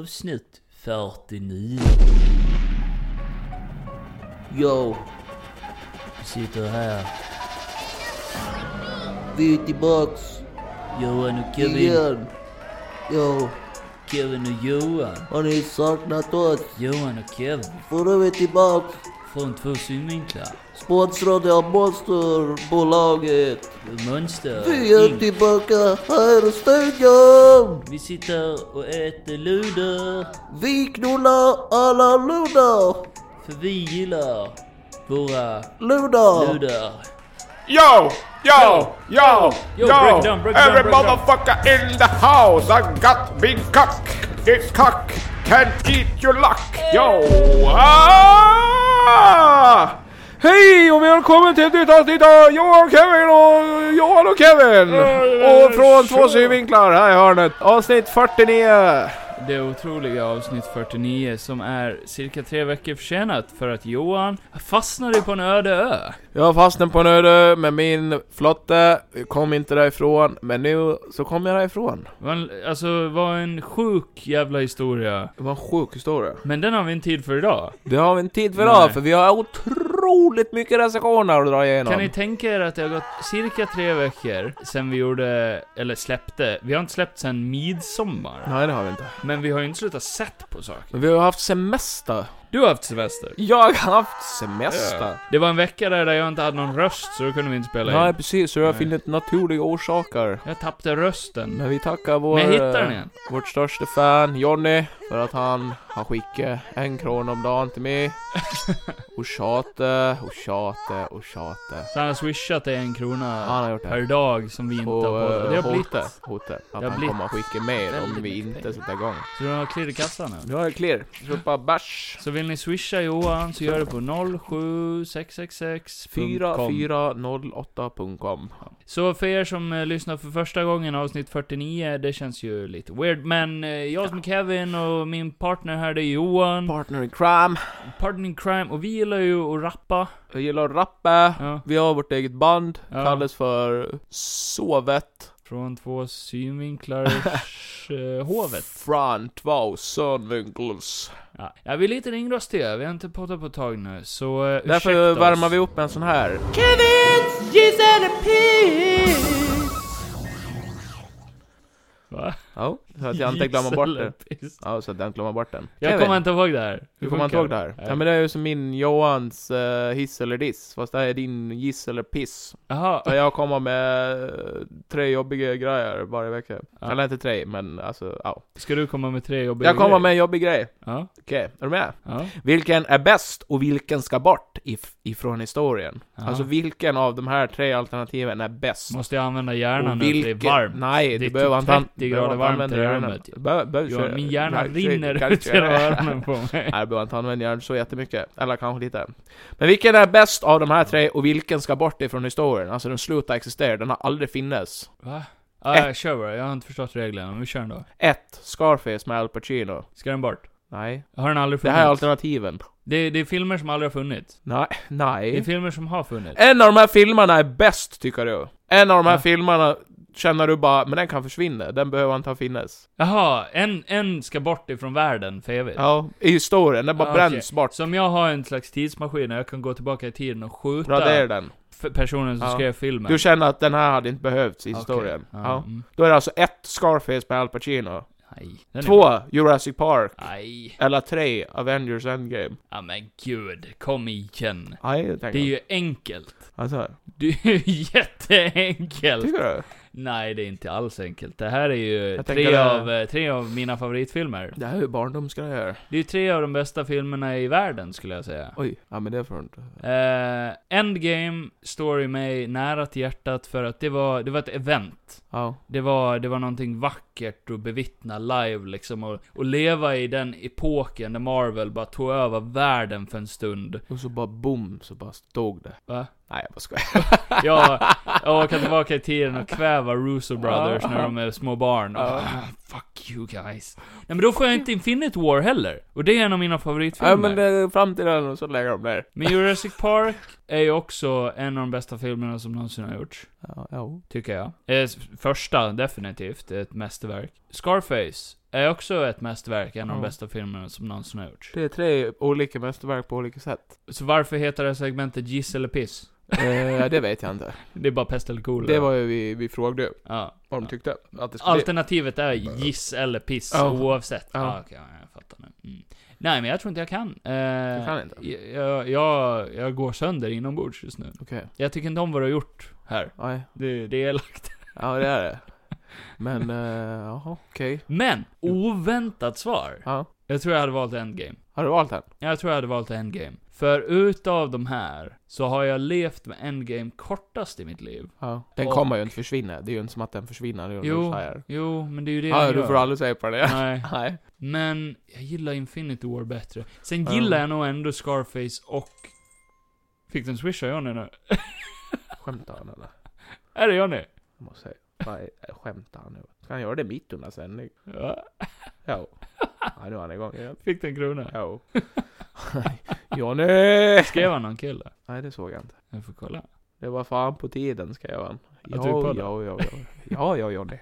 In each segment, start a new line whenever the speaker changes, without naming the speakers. Avsnitt 49. Yo! Vi sitter här.
Vi är tillbaks
Johan och Kevin.
igen. Ja,
Kevin och Johan.
har ni saknat oss?
Johan och Kevin.
För nu är vi tillbaks
Från två synvinklar.
sponsrade av Monsterbolaget.
Monster.
Vi är
Inc.
tillbaka uh, här i studion!
Vi sitter och äter luder.
Vi knullar alla luder!
För vi gillar våra
Luder!
luder.
Yo, yo, yo,
Yo,
yo,
break it down, break it down,
every
break it down.
motherfucker in the house. I got big cock. This cock can eat your luck. Yo, ah! Hej och välkommen till ett nytt avsnitt av Johan och Kevin och Johan och Kevin! Och från två synvinklar här i hörnet. Avsnitt 49.
Det otroliga avsnitt 49 som är cirka tre veckor försenat för att Johan fastnade på en öde ö.
Jag fastnade på en öde med min flotte, kom inte därifrån, men nu så kom jag därifrån.
Det var en- Alltså, det var en sjuk jävla historia.
Det var en sjuk historia.
Men den har vi inte tid för idag.
Det har vi inte tid för
Nej.
idag, för vi har otroligt mycket recensioner att dra igenom.
Kan ni tänka er att det har gått cirka tre veckor sen vi gjorde, eller släppte, vi har inte släppt sen midsommar.
Nej, det har vi inte.
Men vi har ju inte slutat sett på saker.
Men vi har haft semester.
Du har haft semester.
Jag har haft semester.
Det var en vecka där jag inte hade någon röst, så då kunde vi inte spela
Nej,
in.
precis. Så det har
Nej.
funnits naturliga orsaker.
Jag tappade rösten.
Men vi tackar vår,
Men jag hittade den
eh,
igen.
vårt största fan, Jonny, för att han har skickat en krona om dagen till mig. Och tjata, och tjata, och tjata.
Så han har swishat dig en krona.
Han har gjort
per
det.
dag som vi inte
Och
har
eh,
poddat. Det har blivit.
hotet, hotet.
har
Att han
blivit
kommer att skicka mer om
väldigt
vi
mycket pengar.
inte sätter igång.
Så du har klirr i kassan nu.
Nu har jag klirr. Köpa bärs.
Så vill ni swisha Johan så gör det på 07666
4408.com
Så för er som eh, lyssnar för första gången avsnitt 49, det känns ju lite weird. Men eh, jag som är Kevin och min partner här det är Johan,
Partner in crime.
partner in crime, och vi gillar ju att rappa.
Jag gillar att rappa.
Ja,
Vi har vårt eget band.
Ja.
Kallas för Sovet.
från två synvinklars eh, hovet.
Från två synvinkels.
Ja. ja, vi är lite ringrostiga, vi har inte poddat på ett tag nu, så eh, ursäkta
Därför
oss.
värmer vi upp med en sån här.
Va?
Ja, så att jag inte glömmer
Gissel
bort
eller
det.
piss?
Ja, så att jag inte glömmer bort den.
Jag
Kevin,
kommer inte ihåg det här.
Du kommer inte ihåg det här? Ja men det är ju som min Johans eh, hiss eller diss. Fast det här är din giss eller piss. Där
Jaha,
jag kommer med eh, tre jobbiga grejer varje vecka.
Ja.
Eller inte tre, men alltså, ja.
ska du komma med tre jobbiga
Jag kommer
grejer?
med en jobbig grej.
Ja,
Okej, är du med?
ja.
Vilken är bäst och vilken ska bort if- ifrån historien?
Ja.
Alltså vilken av de här tre alternativen är bäst?
Måste jag använda hjärnan
Och
nu för det är varmt?
Nej,
Det är
det du behöver
typ
inte an-
30 grader
behöver inte
varmt
använda
i
hjärnan.
rummet. typ.
Du behöver- behöver
Ja,
köra-
min hjärna
Nej,
rinner
kanske
ut genom
det.
öronen på mig.
Nej, du behöver inte använda hjärnan så jättemycket. Eller kanske lite. Men vilken är bäst av de här tre och vilken ska bort ifrån historien? Alltså den slutar existera, den har aldrig finnes.
Va? Ah, jag kör bara, jag har inte förstått reglerna, men vi kör ändå.
1. Scarface med Al Pacino.
Ska den bort?
Nej.
Har den aldrig
Det
funnits?
här är alternativen.
det, det är filmer som aldrig har funnits.
Nej.
Det är
Nej.
filmer som har funnits.
En av de här filmerna är bäst, tycker du. En av de här
Ja.
filmerna känner du bara, men den kan försvinna. Den behöver inte ha finnas.
Jaha, en, en ska bort ifrån världen för evigt.
Ja. I historien, den bara
Ah,
bränns
okej.
bort.
Så om jag har en slags tidsmaskin och jag kan gå tillbaka i tiden och skjuta
Radera den.
f- personen som
Ja.
skrev filmen.
Du känner att den här hade inte behövts i
Okej.
historien.
Ja,
Ja.
mm.
Då är det alltså ett Scarface med Al Pacino.
Nej. Den är-
Två Jurassic Park.
Nej.
Eller tre Avengers Endgame.
Ja men gud, kom igen.
Nej, jag
Det
tänker
är
ju...
ju enkelt.
alltså,
Det är ju jätteenkelt.
Tycker du?
Nej, det är inte alls enkelt. Det här är ju
Jag
tre
tänker det-
av, eh, tre av mina favoritfilmer.
Det här är ju barndomsgrejer.
Det är ju tre av de bästa filmerna i världen, skulle jag säga.
Oj, ja men det får du inte.
Eh, Endgame står i mig nära till hjärtat för att det var, det var ett event.
Ja.
Det var, det var någonting vackert att bevittna live liksom, och, och leva i den epoken där Marvel bara tog över världen för en stund.
Och så bara boom, så bara stod det.
Va?
Nej, jag bara skojar.
Jag, jag åker tillbaka i tiden och kväva Russo Brothers när de är små barn. Och,
Ja.
ah, fuck you guys. Nej men då får jag inte Infinite War heller. Och det är en av mina favoritfilmer.
Ja men
men,
det är framtiden och så lägger de ner.
Jurassic Park är ju också en av de bästa filmerna som någonsin har gjorts.
Ja, ja.
Tycker jag. Eh, s- första, definitivt. Ett mästerverk. Scarface är också ett mästerverk, en av de
Ja.
bästa filmerna som någonsin har gjorts.
Det är tre olika mästerverk på olika sätt.
Så varför heter det här segmentet Giss eller Piss?
eh, det vet jag inte.
Det är bara pest eller kolera.
Det var ju vi, vi frågade ju
Ja.
vad de tyckte att det skulle bli.
Alternativet är giss eller piss,
Ja.
oavsett.
Ja.
Ja. Ah, okej, ja, jag fattar nu. Mm. Nej, men jag tror inte jag kan. Eh,
Du kan inte?
Jag, jag, jag går sönder inombords just nu.
Okej.
Jag tycker inte om vad du har gjort här.
Nej.
Det, det är elakt.
Ja, det är det. Men, eh, jaha, okej.
Men! Oväntat svar.
Ja.
Jag tror jag hade valt Endgame.
Har du valt den?
Jag tror jag hade valt Endgame. För utav de här, så har jag levt med Endgame kortast i mitt liv.
Ja. Den
Och-
kommer ju inte försvinna. Det är ju inte som att den försvinner. Det är ju
Jo.
en Shire.
Jo, men det är ju det
Ja,
jag
du
gör.
får aldrig säga på det.
Nej.
Nej.
Men jag gillar Infinity War bättre. Sen
Ja.
gillar jag nog ändå Scarface och... Fick den swisha Johnny nu?
Skämtar han eller?
Är det Johnny?
Jag måste säga. Nej, skämtar han nu? Ska han göra det mitt under sändning?
Ja.
Jo. Ja, nu är han igång igen.
Fick den krona?
Jo. Johnny!
Skrev han någon kille?
Nej, det såg jag inte.
Jag får kolla.
Det var fan på tiden, skrev han.
du kollade?
ja, ja, ja. Ja, ja, Johnny.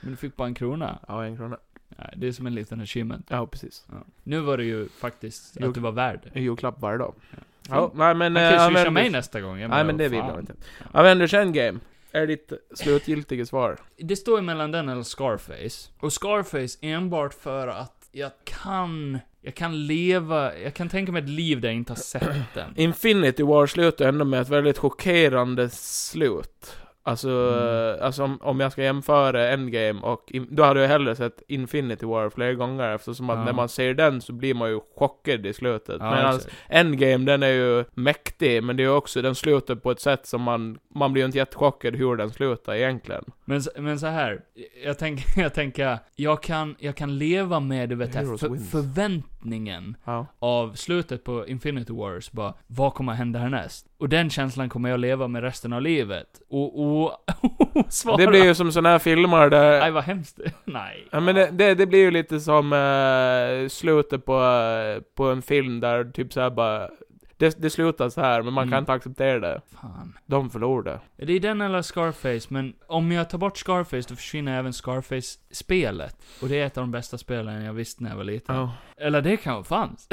Men du fick bara en krona?
Ja, en krona.
Nej, det är som en liten achievement.
Ja, precis.
Ja. Nu var det ju faktiskt
Jo.
att du var värd.
En julklapp varje dag.
Fint.
Ja, nej men...
Han kan ju swisha
använd-
mig nästa gång. jag
Nej,
menar,
men det vill
fan.
jag inte. Använder sen game. Är ditt slutgiltiga svar?
Det står ju mellan den eller Scarface. Och Scarface enbart för att jag kan... Jag kan leva... Jag kan tänka mig ett liv där jag inte har sett den.
Infinity War slutar ändå med ett väldigt chockerande slut. Alltså,
Mm.
alltså om, om jag ska jämföra Endgame och... In, då hade jag hellre sett Infinity War flera gånger eftersom att
Ja.
när man ser den så blir man ju chockad i slutet.
Ja,
Medan
exakt.
Endgame den är ju mäktig men det är ju också, den slutar på ett sätt som man... Man blir ju inte jättechockad hur den slutar egentligen.
Men, s- men så här, jag tänker, jag tänker, jag kan, jag kan leva med det vet jag,
Heroes
för,
wins.
förväntningen
Ja.
av slutet på Infinity Wars bara, vad kommer hända härnäst? Och den känslan kommer jag leva med resten av livet. Och, och, och svara.
Det blir ju som såna här filmer där...
Nej vad hemskt. Nej.
Ja men det, det, det blir ju lite som eh, slutet på, eh, på en film där typ såhär bara... Det, det slutar så här men man kan
Mm.
inte acceptera det.
Fan.
De förlorade.
Det är den eller Scarface, men om jag tar bort Scarface då försvinner även Scarface-spelet. Och det är ett av de bästa spelen jag visste när jag var liten.
Ja,
Eller det kanske fanns.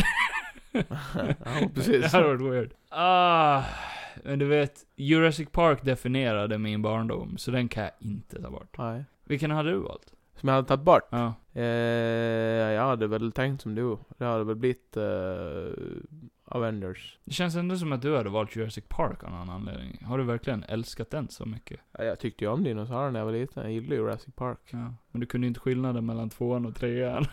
ja precis.
Det hade varit weird. Ah, men du vet, Jurassic Park definierade min barndom, så den kan jag inte ta bort.
Nej.
Vilken hade du valt?
Som jag hade tagit bort?
Ja.
Eh, jag hade väl tänkt som du. Det hade väl blivit eh, Avengers.
Det känns ändå som att du hade valt Jurassic Park av någon anledning. Har du verkligen älskat den så mycket?
Ja, Jag tyckte ju om dinosaurier när jag var liten. Jag gillade Jurassic Park.
Ja. Men du kunde inte skillnaden mellan tvåan och trean.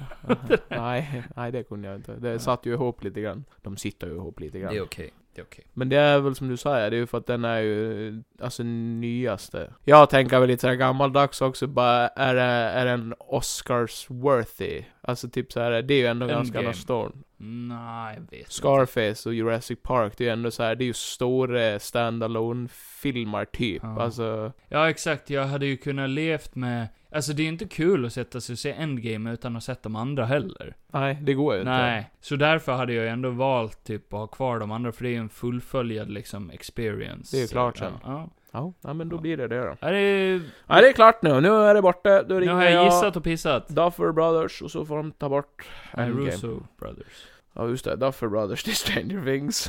nej, nej, det kunde jag inte. Det
Nej.
satt ju ihop lite grann. De sitter ju ihop lite grann.
okej. Det är okej.
Men det är väl som du säger, det är ju för att den är ju, alltså nyaste. Jag tänker väl lite såhär gammaldags också, bara är det, är den Oscars-worthy? Alltså typ såhär, det är ju ändå ganska
Endgame.
nostalgiskt.
Nej, jag vet inte.
Scarface och Jurassic Park, det är ju ändå såhär, det är ju stora standalone filmer typ.
Ja.
Alltså,
Ja, exakt. Jag hade ju kunnat levt med... Alltså det är ju inte kul att sätta sig och se Endgame utan att ha sett de andra heller.
nej, det går ju inte.
Nej, så därför hade jag ändå valt typ att ha kvar de andra, för det är ju en fullföljad liksom experience.
Det är ju klart
ja.
sen.
Ja.
Ja, ja, men då
Ja.
blir det det då.
Är det,
Ja, det är klart nu. Nu är det borta. Då
nu
ringer
har jag gissat och pissat.
Duffer Brothers och så får de ta bort
Nej,
Endgame.
Russo Brothers.
Ja, just det. Duffer Brothers till Stranger Things.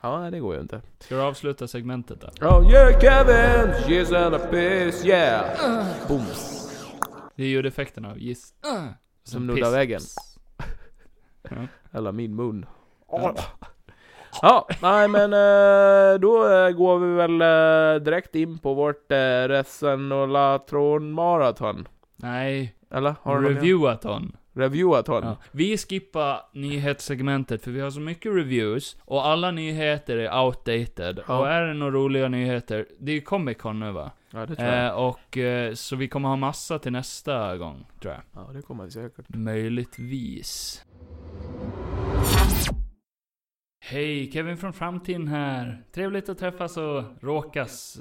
ja, nej, det går ju inte.
Ska du avsluta segmentet där?
Oh yeah Kevin, she's in a piss yeah! Boom.
Det är ljudeffekterna av giss. Sen
Äh! Som nuddar
piss.
väggen.
Ja.
Eller min mun. Ja, nej men eh, då eh, går vi väl eh, direkt in på vårt eh, Resenollatron maraton.
Nej,
Eller? Har du någon mer?
reviewathon.
Reviewathon.
Ja. Vi skippar nyhetssegmentet för vi har så mycket reviews och alla nyheter är outdated.
Ja.
Och är det några roliga nyheter, det är ju Comic Con nu va?
Ja, det tror jag.
Eh, och eh, så vi kommer ha massa till nästa gång, tror jag.
Ja, det kommer vi säkert.
Möjligtvis. Hej, Kevin från framtiden här. Trevligt att träffas och råkas.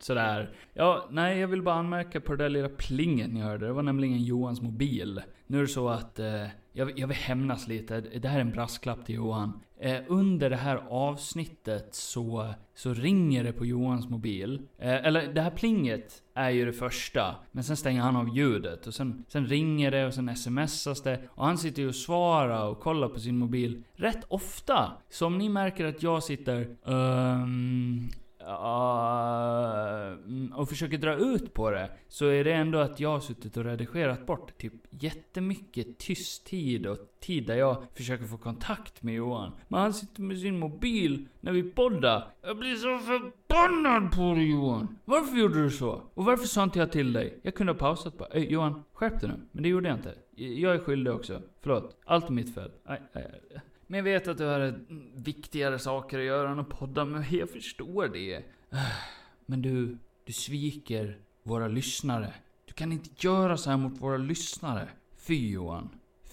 sådär. Ja, nej, jag vill bara anmärka på det där lilla plingen jag hörde. Det var nämligen Johans mobil. Nu är det så att eh, jag, jag vill hämnas lite. Det här är en brasklapp till Johan. Eh, under det här avsnittet så, så ringer det på Johans mobil. Eh, eller det här plinget är ju det första. Men sen stänger han av ljudet och sen, sen ringer det och sen smsas det. Och han sitter ju och svarar och kollar på sin mobil rätt ofta. Så om ni märker att jag sitter ehm, ja, mm, och försöker dra ut på det, så är det ändå att jag har suttit och redigerat bort typ jättemycket tyst tid och tid där jag försöker få kontakt med Johan. Men han sitter med sin mobil när vi poddar. Jag blir så förbannad på dig Johan! Varför gjorde du så? Och varför sa inte jag till dig? Jag kunde ha pausat bara. Ey, Johan, skärp dig nu. Men det gjorde jag inte. Jag är skyldig också. Förlåt. Allt är mitt fel. Aj, aj, aj. Men jag vet att du har eh, viktigare saker att göra än att podda med mig. Jag förstår det. Ah, Men du, du sviker våra lyssnare. Du kan inte göra så här mot våra lyssnare. Fy Johan.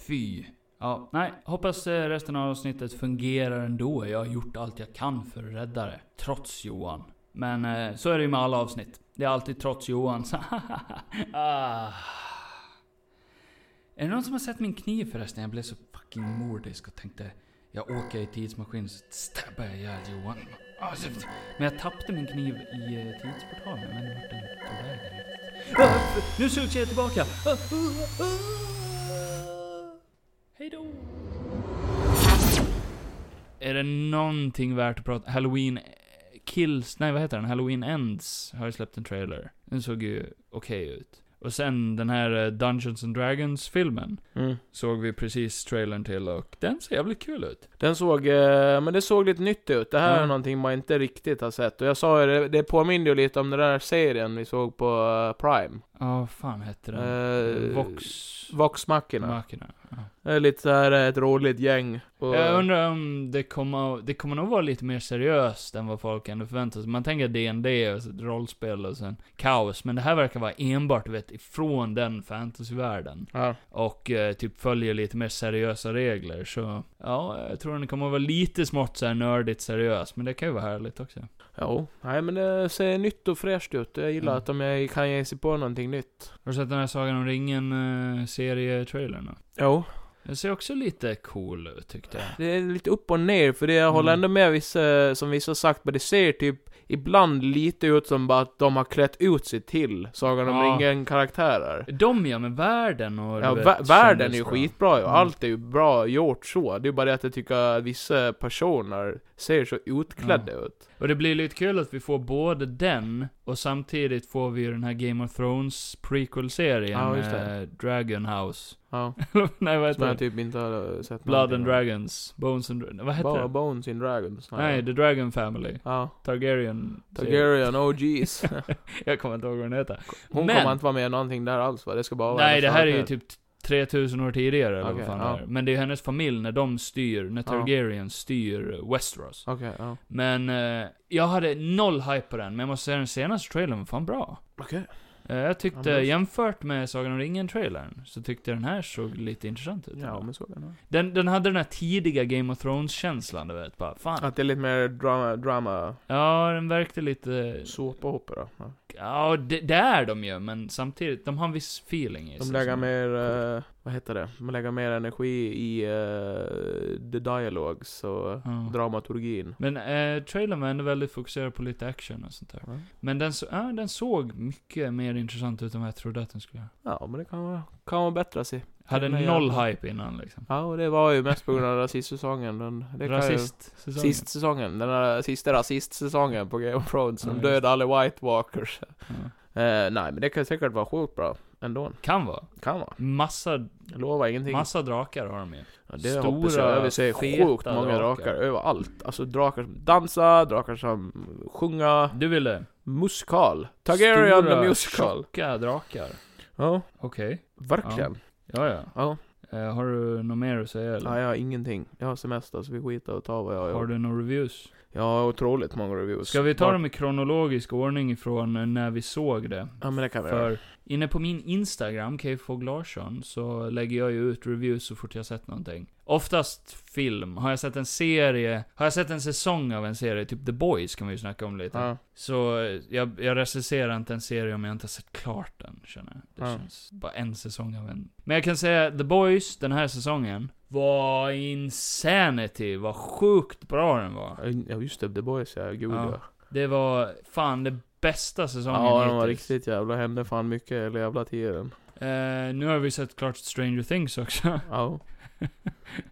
Fy. Ja, nej. Hoppas eh, resten av avsnittet fungerar ändå. Jag har gjort allt jag kan för att rädda det. Trots Johan. Men eh, så är det ju med alla avsnitt. Det är alltid trots Johan. ah. Är det någon som har sett min kniv förresten? Jag blev så fucking mordisk och tänkte jag åker i tidsmaskin så stabbar jag ihjäl Johan. Alltså, Men jag tappade min kniv i eh, tidsportalen. Jag vet inte vart den tog vägen. Ah, Nu sugs jag tillbaka! Ah, ah, ah. Hej då! Är det någonting värt att prata Halloween Kills, nej vad heter den? Halloween Ends har ju släppt en trailer. Den såg ju okej ut. Och sen den här eh, Dungeons and Dragons filmen
Mm.
såg vi precis trailern till och den ser jävligt kul ut.
Den såg, eh, men det såg lite nytt ut. Det här
Ja.
är någonting man inte riktigt har sett. Och jag sa ju det, det påminner ju lite om den där serien vi såg på eh, Prime.
Ja, vad fan hette den?
Eh,
Vox...
Voxmackorna.
Machina.
Det är Lite såhär ett roligt gäng. Och,
Jag undrar om det kommer, det kommer nog vara lite mer seriöst än vad folk ändå förväntar sig. Man tänker D&D och så ett rollspel och sen kaos. Men det här verkar vara enbart du vet, ifrån den fantasyvärlden.
ja.
Och eh, typ följer lite mer seriösa regler. Så ja, jag tror den kommer vara lite smått såhär nördigt seriös. Men det kan ju vara härligt också.
Jo. Nej men det ser nytt och fräscht ut. Jag gillar
Mm.
att de är- kan ge sig på någonting nytt.
Har du sett den här Sagan om ringen-serietrailern då?
Jo.
Den ser också lite cool ut tyckte jag.
Det är lite upp och ner, för det jag håller
Mm.
ändå med vissa, som vissa har sagt, men det ser typ ibland lite ut som bara att de har klätt ut sig till Sagan om
Ja.
ringen-karaktärer.
De ja, men världen och...
Ja,
du
vä-
vet,
världen är ju
kändisbra.
skitbra ju,
Mm.
allt är ju bra gjort så. Det är bara det att jag tycker att vissa personer ser så utklädda ut.
Och det blir lite kul att vi får både den, och samtidigt får vi ju den här Game of Thrones prequel-serien.
Ja, just det.
eh, Dragon House.
Ja,
Nej, vad
som
heter
jag
det?
typ inte har sett
Blood and Dragons. Bones and... Dra- Vad heter
Bara
det?
Bones in Dragons.
Nej, The Dragon Family.
Ja,
Targaryen.
Targaryen, oh jeez.
Jag kommer inte ihåg vad den heter.
Hon
Men-
kommer inte vara med i någonting där alls va? Det ska bara vara
Nej,
hennes
det här är ju
karaktär.
typ 3000 år tidigare eller
Okej,
vad fan
ja.
det är. Men det är ju hennes familj när de styr, när
Ja.
Targaryen styr Westeros.
Okej, ja.
Men eh, jag hade noll hype på den, men jag måste säga den senaste trailern var fan bra.
Okej.
Eh, jag tyckte,
Ja, men-
jämfört med Sagan om ringen-trailern, så tyckte jag den här såg lite intressant ut.
Ja, men så kan det vara.
den, den hade den här tidiga Game of Thrones-känslan, du vet. Bara, fan.
Att det är lite mer drama, drama
Ja, den verkte lite...
såpopera. Ja.
Ja, det, det är de ju, men samtidigt, de har en viss feeling i
De
sig
lägger
som-
mer, eh, vad heter det? De lägger mer energi i eh, the dialogues och
Ja.
dramaturgin.
Men eh, trailern var ändå väldigt fokuserad på lite action och sånt där.
Ja.
Men den, så, ja, den såg mycket mer intressant ut än vad jag trodde att den skulle göra.
Ja, men det kan vara, kan vara bättre sig.
Hade
Den är
noll
jävla-
hype innan liksom.
Ja, och det var ju mest på grund av rasistsäsongen. Den, det kan ju,
Rasist.
sist säsongen. Den där sista rasistsäsongen på Game of Thrones.
Ja,
Som
just
dödade alla White Walkers.
Ja.
Eh, nej, men det kan säkert vara sjukt bra ändå.
Kan vara.
Kan vara.
Massa,
Jag lovar ingenting.
massa drakar har de ju.
Ja, det
Stora,
hoppas jag. Vi ser sjukt
feta
många
drakar.
drakar. överallt. Alltså drakar som dansar, drakar som sjunga.
Du ville?
Musikal. Targaryen
Stora,
the Musical.
Tjocka drakar.
Ja,
Okej.
verkligen.
Ja, ja.
Ja.
Eh, har du något mer att säga eller?
Nej, jag har ingenting. Jag har semester så vi skiter och tar vad jag
har
gör.
du några reviews?
Ja, otroligt många reviews.
Ska vi ta
Var-
dem i kronologisk ordning ifrån eh, när vi såg det?
Ja, men det kan vi göra.
För inne på min Instagram, KFog Larsson, så lägger jag ju ut reviews så fort jag sett någonting. Oftast film. Har jag sett en serie, har jag sett en säsong av en serie, typ The Boys kan vi ju snacka om lite.
Ja.
Så eh, jag, jag recenserar inte en serie om jag inte har sett klart den, känner jag. Det
Ja.
känns bara en säsong av en. Men jag kan säga, The Boys, den här säsongen, var insanity, vad sjukt bra den var.
Ja, just det. The Boys, ja. Gud
Ja.
ja.
Det var fan det bästa säsongen
Ja, den var
hittills.
riktigt jävla. Hände fan mycket hela jävla tiden.
Eh, nu har vi sett klart Stranger Things också.
Ja.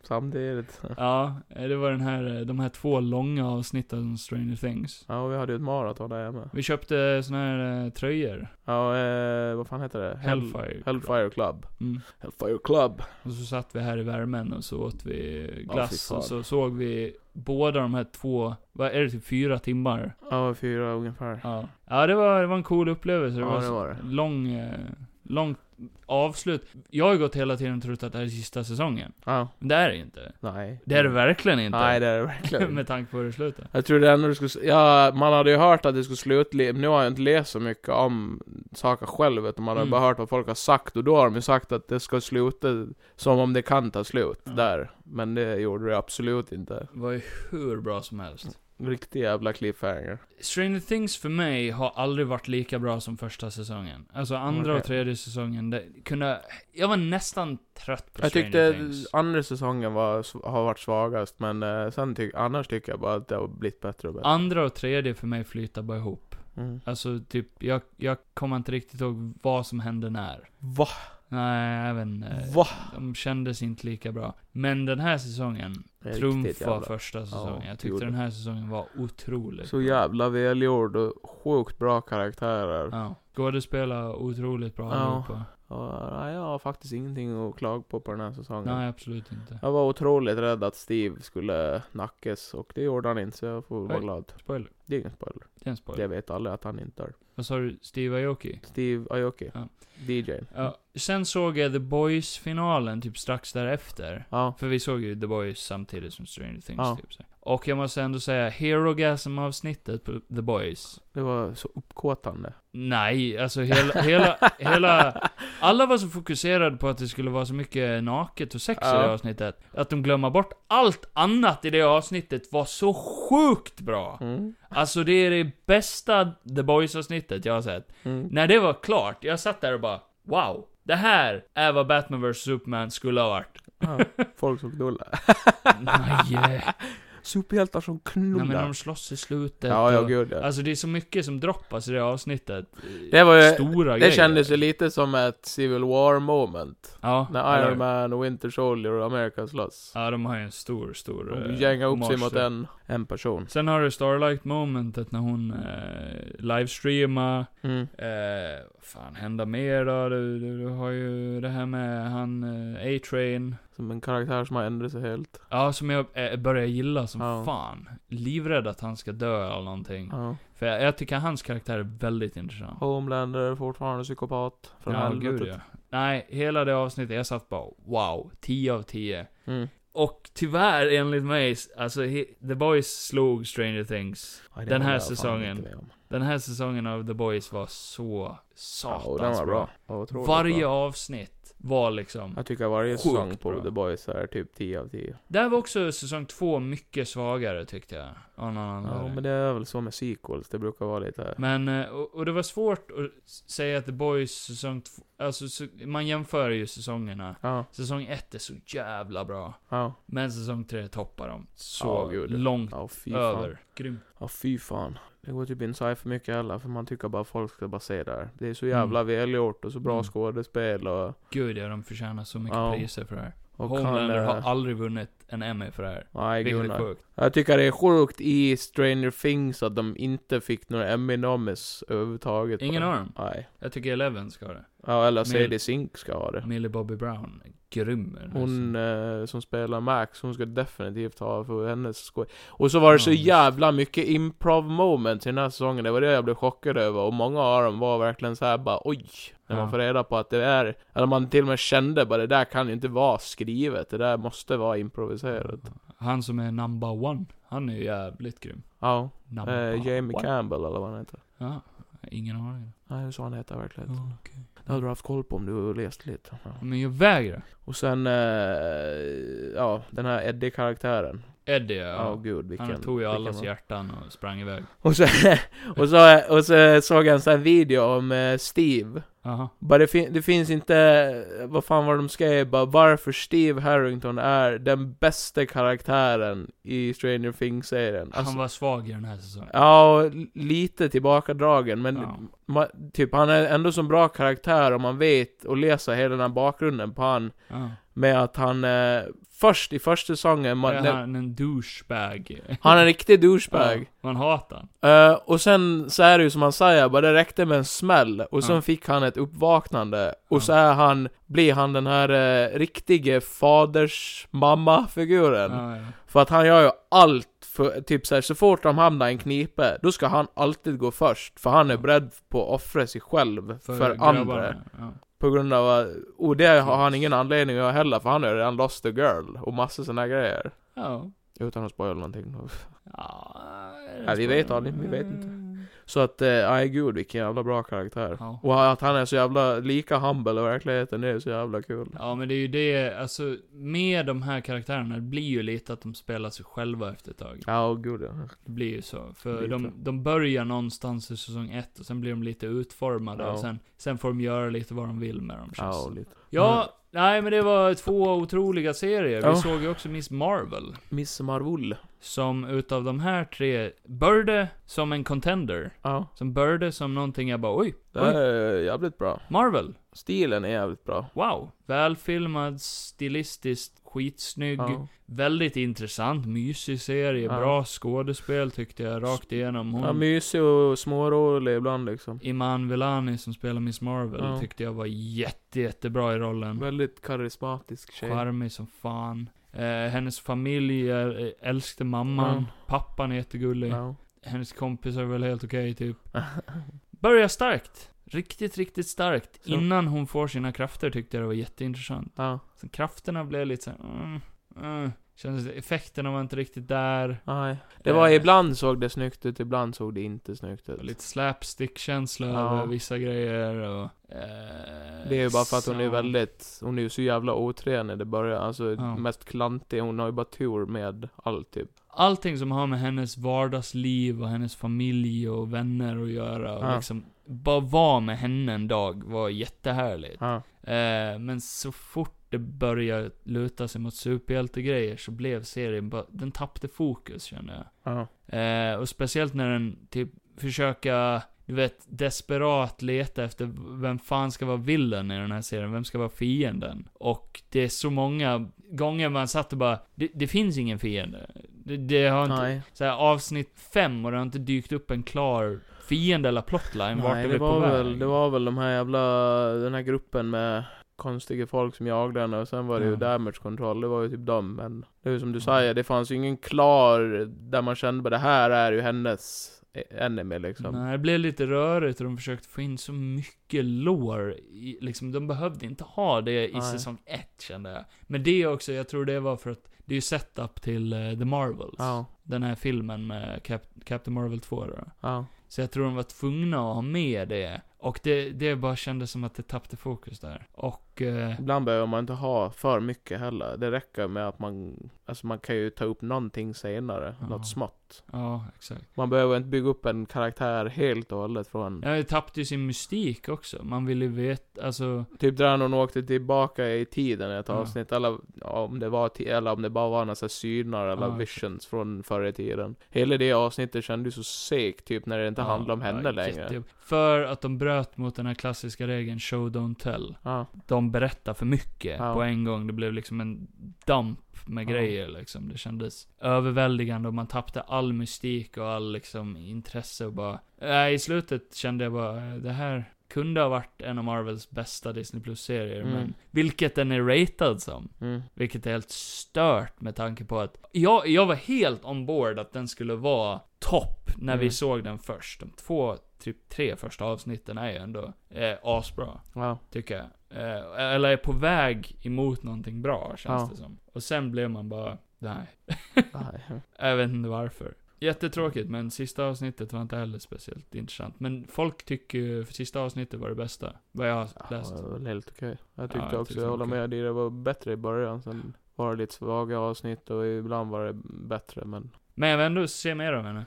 Samtidigt.
ja, eh, det var den här, eh, de här två långa avsnitten om Stranger Things.
Ja, vi hade ju ett maraton där hemma.
Vi köpte såna här eh, tröjor.
Ja, eh, vad fan heter det? Hell-
Hellfire
Hellfire Club.
Mm.
Hellfire Club.
Och så satt vi här i värmen och så åt vi glass
Ja, fy fan.
och så såg vi båda de här två, vad är det, typ fyra timmar?
Ja, fyra ungefär.
Ja, ja det, var, det var en cool upplevelse. Det
Ja,
var,
det
så
var det.
lång, eh, långt avslut. Jag har ju gått hela tiden och trott att det här är sista säsongen.
Ja.
Men det är det inte.
Nej.
Det är det verkligen inte.
Mm. Nej, det är det verkligen inte.
Med tanke på hur det slutar.
Jag tror det ändå det skulle... Ja, man hade ju hört att det skulle sluta... Nu har jag inte läst så mycket om saker själv, utan man har
Mm.
bara hört vad folk har sagt, och då har de ju sagt att det ska sluta som om det kan ta slut,
Ja.
där. Men det gjorde det absolut inte.
Det var ju hur bra som helst.
Riktig jävla cliffhanger.
Stranger Things för mig har aldrig varit lika bra som första säsongen. Alltså andra
Okej.
och tredje säsongen, det kunde... Jag var nästan trött på
Jag
Stranger
tyckte
Things.
andra säsongen var, sv- har varit svagast, men eh, sen tyck, annars tycker jag bara att det har blivit bättre och bättre.
Andra och tredje för mig flyter bara ihop.
Mm.
Alltså typ, jag, jag kommer inte riktigt ihåg vad som hände när.
Va?
Nej, även... eh,
Va?
De kändes inte lika bra. Men den här säsongen
Riktigt
trumfar
jävla-
första säsongen.
det
jag tyckte
gjorde
den här säsongen var otrolig.
Så jävla välgjord och sjukt bra karaktärer.
Ja. Skådespelare otroligt bra
Ja.
allihopa.
Och, nej, jag har faktiskt ingenting att klaga på på den här säsongen.
Nej, absolut inte.
Jag var otroligt rädd att Steve skulle nackas och det gjorde han inte så jag får vara
Oj.
glad.
Spoiler.
Det är ingen spoiler.
Det är en spoiler.
Det vet alla att han inte är.
Vad sa du? Steve Aoki?
Steve Aoki.
Ja.
DJ.
Ja. Sen såg jag The Boys-finalen typ strax därefter.
Ja.
För vi såg ju The Boys samtidigt som Stranger Things
Ja.
typ. Så. Och jag måste ändå säga, Herogasm-avsnittet på The Boys.
Det var så uppkåtande.
Nej, alltså hela, hela, hela... Alla var så fokuserade på att det skulle vara så mycket naket och sex i
Ja.
det avsnittet. Att de glömmer bort allt annat i det avsnittet var så sjukt bra.
Mm.
Alltså det är det bästa The Boys-avsnittet jag har sett.
Mm.
När det var klart, jag satt där och bara Wow! Det här är vad Batman vs Superman skulle ha varit.
Ja. Folk som knullar.
Nej! eh.
Superhjältar som
Nej men
knullar.
de slåss i slutet
Ja, ja
och-
gud ja.
Alltså det är så mycket som droppas i det avsnittet.
Det var ju-
Stora
Eh, Det
grejer.
kändes ju lite som ett Civil War moment.
Ja,
När
eller-
Iron Man och Winter Soldier och America slåss.
Ja, de har ju en stor, stor...
De
eh,
gängar upp sig
hommage
mot
där.
en, en person.
Sen har du Starlight momentet när hon eh, livestreamar.
Mm.
Eh, vad fan hända mer då? Du, du, du har ju det här med han eh, A-Train.
Som en karaktär som har ändrat sig helt.
Ja, som jag eh, börjar gilla som
Ja.
fan. Livrädd att han ska dö eller någonting.
Ja.
För jag, jag tycker hans karaktär är väldigt intressant.
Homelander är fortfarande psykopat. Från
ja,
helvetet.
gud ja. Nej, hela det avsnittet, jag satt bara wow, 10 av 10.
Mm.
Och tyvärr, enligt mig, alltså he, The Boys slog Stranger Things.
Ja, det
Den här
håller jag fan
säsongen.
inte med om.
Den här säsongen av The Boys var så
Ja,
satans
och den var bra. Ja, otroligt
Varje
bra.
avsnitt var liksom...
Jag tycker varje
Sjukt
säsong på
bra.
The Boys är typ 10 av 10.
Där var också säsong två mycket svagare tyckte jag. Av någon
Ja,
anledning.
men det är väl så med sequels. Det brukar vara lite...
Men, eh, och, och det var svårt att s- säga att The Boys säsong två, alltså så, man jämför ju säsongerna.
Ja,
Säsong ett är så jävla bra.
ja.
Men säsong tre toppar de. Så
Ja, gud.
långt
Ja, fy
över.
fan.
Grymt.
Ja, fy fan. Det går typ inte att för mycket heller, för man tycker bara folk ska bara se där. Det är så jävla välgjort och så bra
Mm.
skådespel och...
Gud ja, de förtjänar så mycket
Ja.
priser för det här.
och
Homelander
kan, eh,
har aldrig vunnit en Emmy för det här.
Nej,
Vilket är
Gunnar.
sjukt.
Jag tycker det är sjukt i Stranger Things att de inte fick några Emmy-nomis överhuvudtaget. på
Ingen
den.
av dem.
Nej.
Jag tycker Eleven ska ha det.
Ja, eller Sadie
Men-
Sink ska ha det.
Millie Bobby Brown. Grym är den, alltså.
Hon eh, som spelar Max, hon ska definitivt ha för hennes skoj. Och så var det så
Ja, visst.
jävla mycket improv moment i den här säsongen, det var det jag blev chockad över. Och många av dem var verkligen så här bara oj. När man
Ja.
får reda på att det är, eller man till och med kände bara det där kan ju inte vara skrivet, det där måste vara improviserat.
Han som är number one. Han är ju jävligt grym.
Ja,
Number
eh, Jamie
one.
Campbell eller vad han heter.
Ja, ingen aning.
Nej, det är så han heter verkligen.
Ja, okej.
Det hade du haft koll på om du läst lite. Ja.
Men jag vägrar.
Och sen, eh, ja, den här Eddie-karaktären.
Eddie, ja.
Ja, gud vilken.
han tog ju
vilken
allas
bra.
hjärtan och sprang iväg.
Och så, och så, och så såg jag en sån här video om eh, Steve.
Aha.
Bara det, fin- det finns inte, vad fan var de skrev, bara varför Steve Harrington är den bästa karaktären i Stranger Things-serien. Alltså,
han var svag i den här säsongen.
Ja, och lite tillbakadragen, men
Ja.
ma- typ han är ändå som bra karaktär om man vet och läser hela den här bakgrunden på han.
Ja.
Med att han, eh, först i första säsongen, man,
är han en douchebag?
han är en riktig douchebag.
Ja, man hatar han.
Eh, och sen så är det ju som han säger, bara det räckte med en smäll och sen
Ja.
fick han ett uppvaknande. Och
Ja.
så är han, blir han den här eh, riktige faders mamma-figuren.
Ja, ja.
För att han gör ju allt för, typ såhär, så fort de hamnar i en knipe, då ska han alltid gå först. För han är beredd på att offra sig själv för,
grabbarna,
andra.
Ja.
På grund av att, och det har han ingen anledning att göra heller, för han har ju redan lost a girl. Och massa såna grejer.
ja.
Utan att spoila någonting.
Ja, är det
Ja, vi
så?
vet aldrig, vi vet inte. Så att, eh, nej gud vilken jävla bra karaktär.
Ja.
Och att han är så jävla lika humble i verkligheten, det är så jävla kul.
Ja men det är ju det, alltså med de här karaktärerna, det blir ju lite att de spelar sig själva efter ett tag.
Ja, och gud ja.
Det blir ju så. För
Lite.
de, de börjar någonstans i säsong ett och sen blir de lite utformade
Ja.
och sen, sen får de göra lite vad de vill med dem känns
Ja,
det
och
som.
lite.
Ja, nej men det var två otroliga serier.
Ja.
Vi såg ju också Miss Marvel.
Miss Marvel.
Som utav de här tre började som en contender.
Ja.
Som började som någonting jag bara oj,
Det
oj
är jävligt bra.
Marvel,
Stilen är jävligt bra.
wow. Välfilmad, stilistiskt skitsnygg.
Ja.
Väldigt intressant, mysig serie,
Ja.
bra skådespel tyckte jag rakt igenom. Hon,
Ja, mysig och smårolig ibland liksom.
Iman Velani som spelar Miss Marvel
Ja.
tyckte jag var jätte, jättebra i rollen.
Väldigt karismatisk tjej.
Charmig som fan. Eh, hennes familj är- älskade mamman.
Ja.
Pappan är jättegullig.
Ja.
Hennes kompisar är väl helt okej, typ. Börjar starkt. Riktigt, riktigt starkt.
Så.
Innan hon får sina krafter tyckte jag det var jätteintressant.
Ja.
Sen krafterna blev lite såhär, mm, mm. Kändes, effekterna var inte riktigt där.
Nej. Det var ibland såg det snyggt ut, ibland såg det inte snyggt
Och
ut.
Lite slapstick-känsla
Ja.
över vissa grejer och... eh,
Det är ju bara för att hon är
så-
väldigt, hon är ju så jävla otränad i början, alltså
Ja.
mest klantig, hon har ju bara tur med allt typ.
Allting som har med hennes vardagsliv och hennes familj och vänner att göra och
Ja.
liksom... Bara vara med henne en dag var jättehärligt.
Ja.
Eh, men så fort det började luta sig mot superhjältegrejer så blev serien bara... Den tappade fokus kände jag.
Ja.
Eh, och speciellt när den typ försöka, du vet, desperat leta efter vem fan ska vara villen i den här serien, vem ska vara fienden? Och det är så många gånger man satt och bara, det, det finns ingen fiende. Det, det har inte,
Nej.
så här, avsnitt fem och det har inte dykt upp en klar fiende eller plotline, vart
Nej,
är
det
vi på
var,
väg?
väl, det var väl de här jävla, den här gruppen med konstiga folk som jagade henne och sen var det ju
Ja.
damage control, det var ju typ dem men Det är ju som du
Ja.
säger, det fanns ju ingen klar där man kände bara det här är ju hennes enemy liksom.
Nej, det blev lite rörigt och de försökte få in så mycket lår i, liksom, de behövde inte ha det i
Nej.
säsong ett kände jag. Men det också, jag tror det var för att det är ju setup till eh, The Marvels.
Ja,
Den här filmen med Cap- Captain Marvel 2 då.
ja.
Så jag tror de var tvungna att ha med det. Och det, det bara kändes som att det tappade fokus där. Och... Eh,
Ibland behöver man inte ha för mycket heller. Det räcker med att man, alltså man kan ju ta upp någonting senare,
Ja.
något smått.
ja, exakt.
Man behöver inte bygga upp en karaktär helt och hållet från
Ja, det tappade ju sin mystik också. Man ville ju veta, alltså...
Typ där hon åkte tillbaka i tiden i ett
Ja.
avsnitt, eller ja, om det var, ti- eller om det bara var några så här synar eller
Ja, okej.
visions från förr i tiden. Hela det avsnittet kändes så segt, typ när det inte
ja,
handlade om henne
ja,
längre.
jättejobb- För att de bröt mot den här klassiska regeln show don't tell.
Ja,
de berättar för mycket
Ja.
på en gång. Det blev liksom en damp med
Ja.
grejer liksom. Det kändes överväldigande och man tappade all eh, mystik och all liksom intresse och bara... Nej, i slutet kände jag bara, det här, kunde ha varit en av Marvels bästa Disney Plus-serier,
Mm.
men vilket den är ratad som.
Mm.
Vilket är helt stört med tanke på att jag, jag var helt ombord att den skulle vara topp när vi
Mm.
såg den först. De två, typ tre första avsnitten är ju ändå eh, asbra,
Ja.
tycker jag. Eh, eller är på väg emot någonting bra, känns
Ja.
det som. Och sen blev man bara, nej.
Nej.
Jag vet inte varför. Jättetråkigt, men sista avsnittet var inte heller speciellt intressant. Men folk tycker ju sista avsnittet var det bästa, vad jag har
Ja,
läst.
det var väl helt okej. Jag tyckte
Ja, jag
också,
tyckte
jag
det
håller
var
med dig, det var bättre i början. Sen var det lite svaga avsnitt och ibland var det bättre men...
Men jag vill ändå se mer av henne.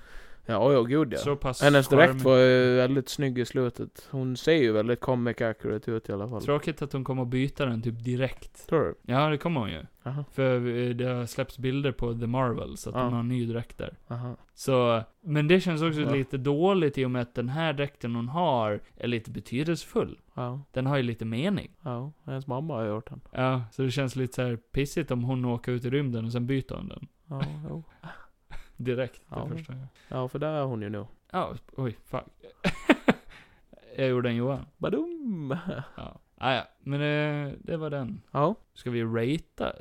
Ja, oj, oj, gud ja.
Så pass
Hennes direkt
charmig.
var ju väldigt snygg i slutet. Hon ser ju väldigt comic accurate ut i alla fall.
Tråkigt att hon kommer att byta den typ direkt.
Tror du?
Ja, det kommer hon ju.
Jaha,
För eh, det har släppts bilder på The Marvel, så att
Ja.
hon har en ny dräkt där.
jaha.
Så, men det känns också
Ja.
lite dåligt i och med att den här dräkten hon har är lite betydelsefull.
Ja,
Den har ju lite mening.
ja. Hennes mamma har gjort den.
Ja, så det känns lite så här pissigt om hon åker ut i rymden och sen byter hon den.
Ja, jo.
Direkt det
Ja.
första gången.
Ja, för där är hon ju nu.
Ja, oj, fuck. jag gjorde en Johan.
Badum!
Ja. Ah, ja. men eh, det var den.
Ja.
Ska vi ratea?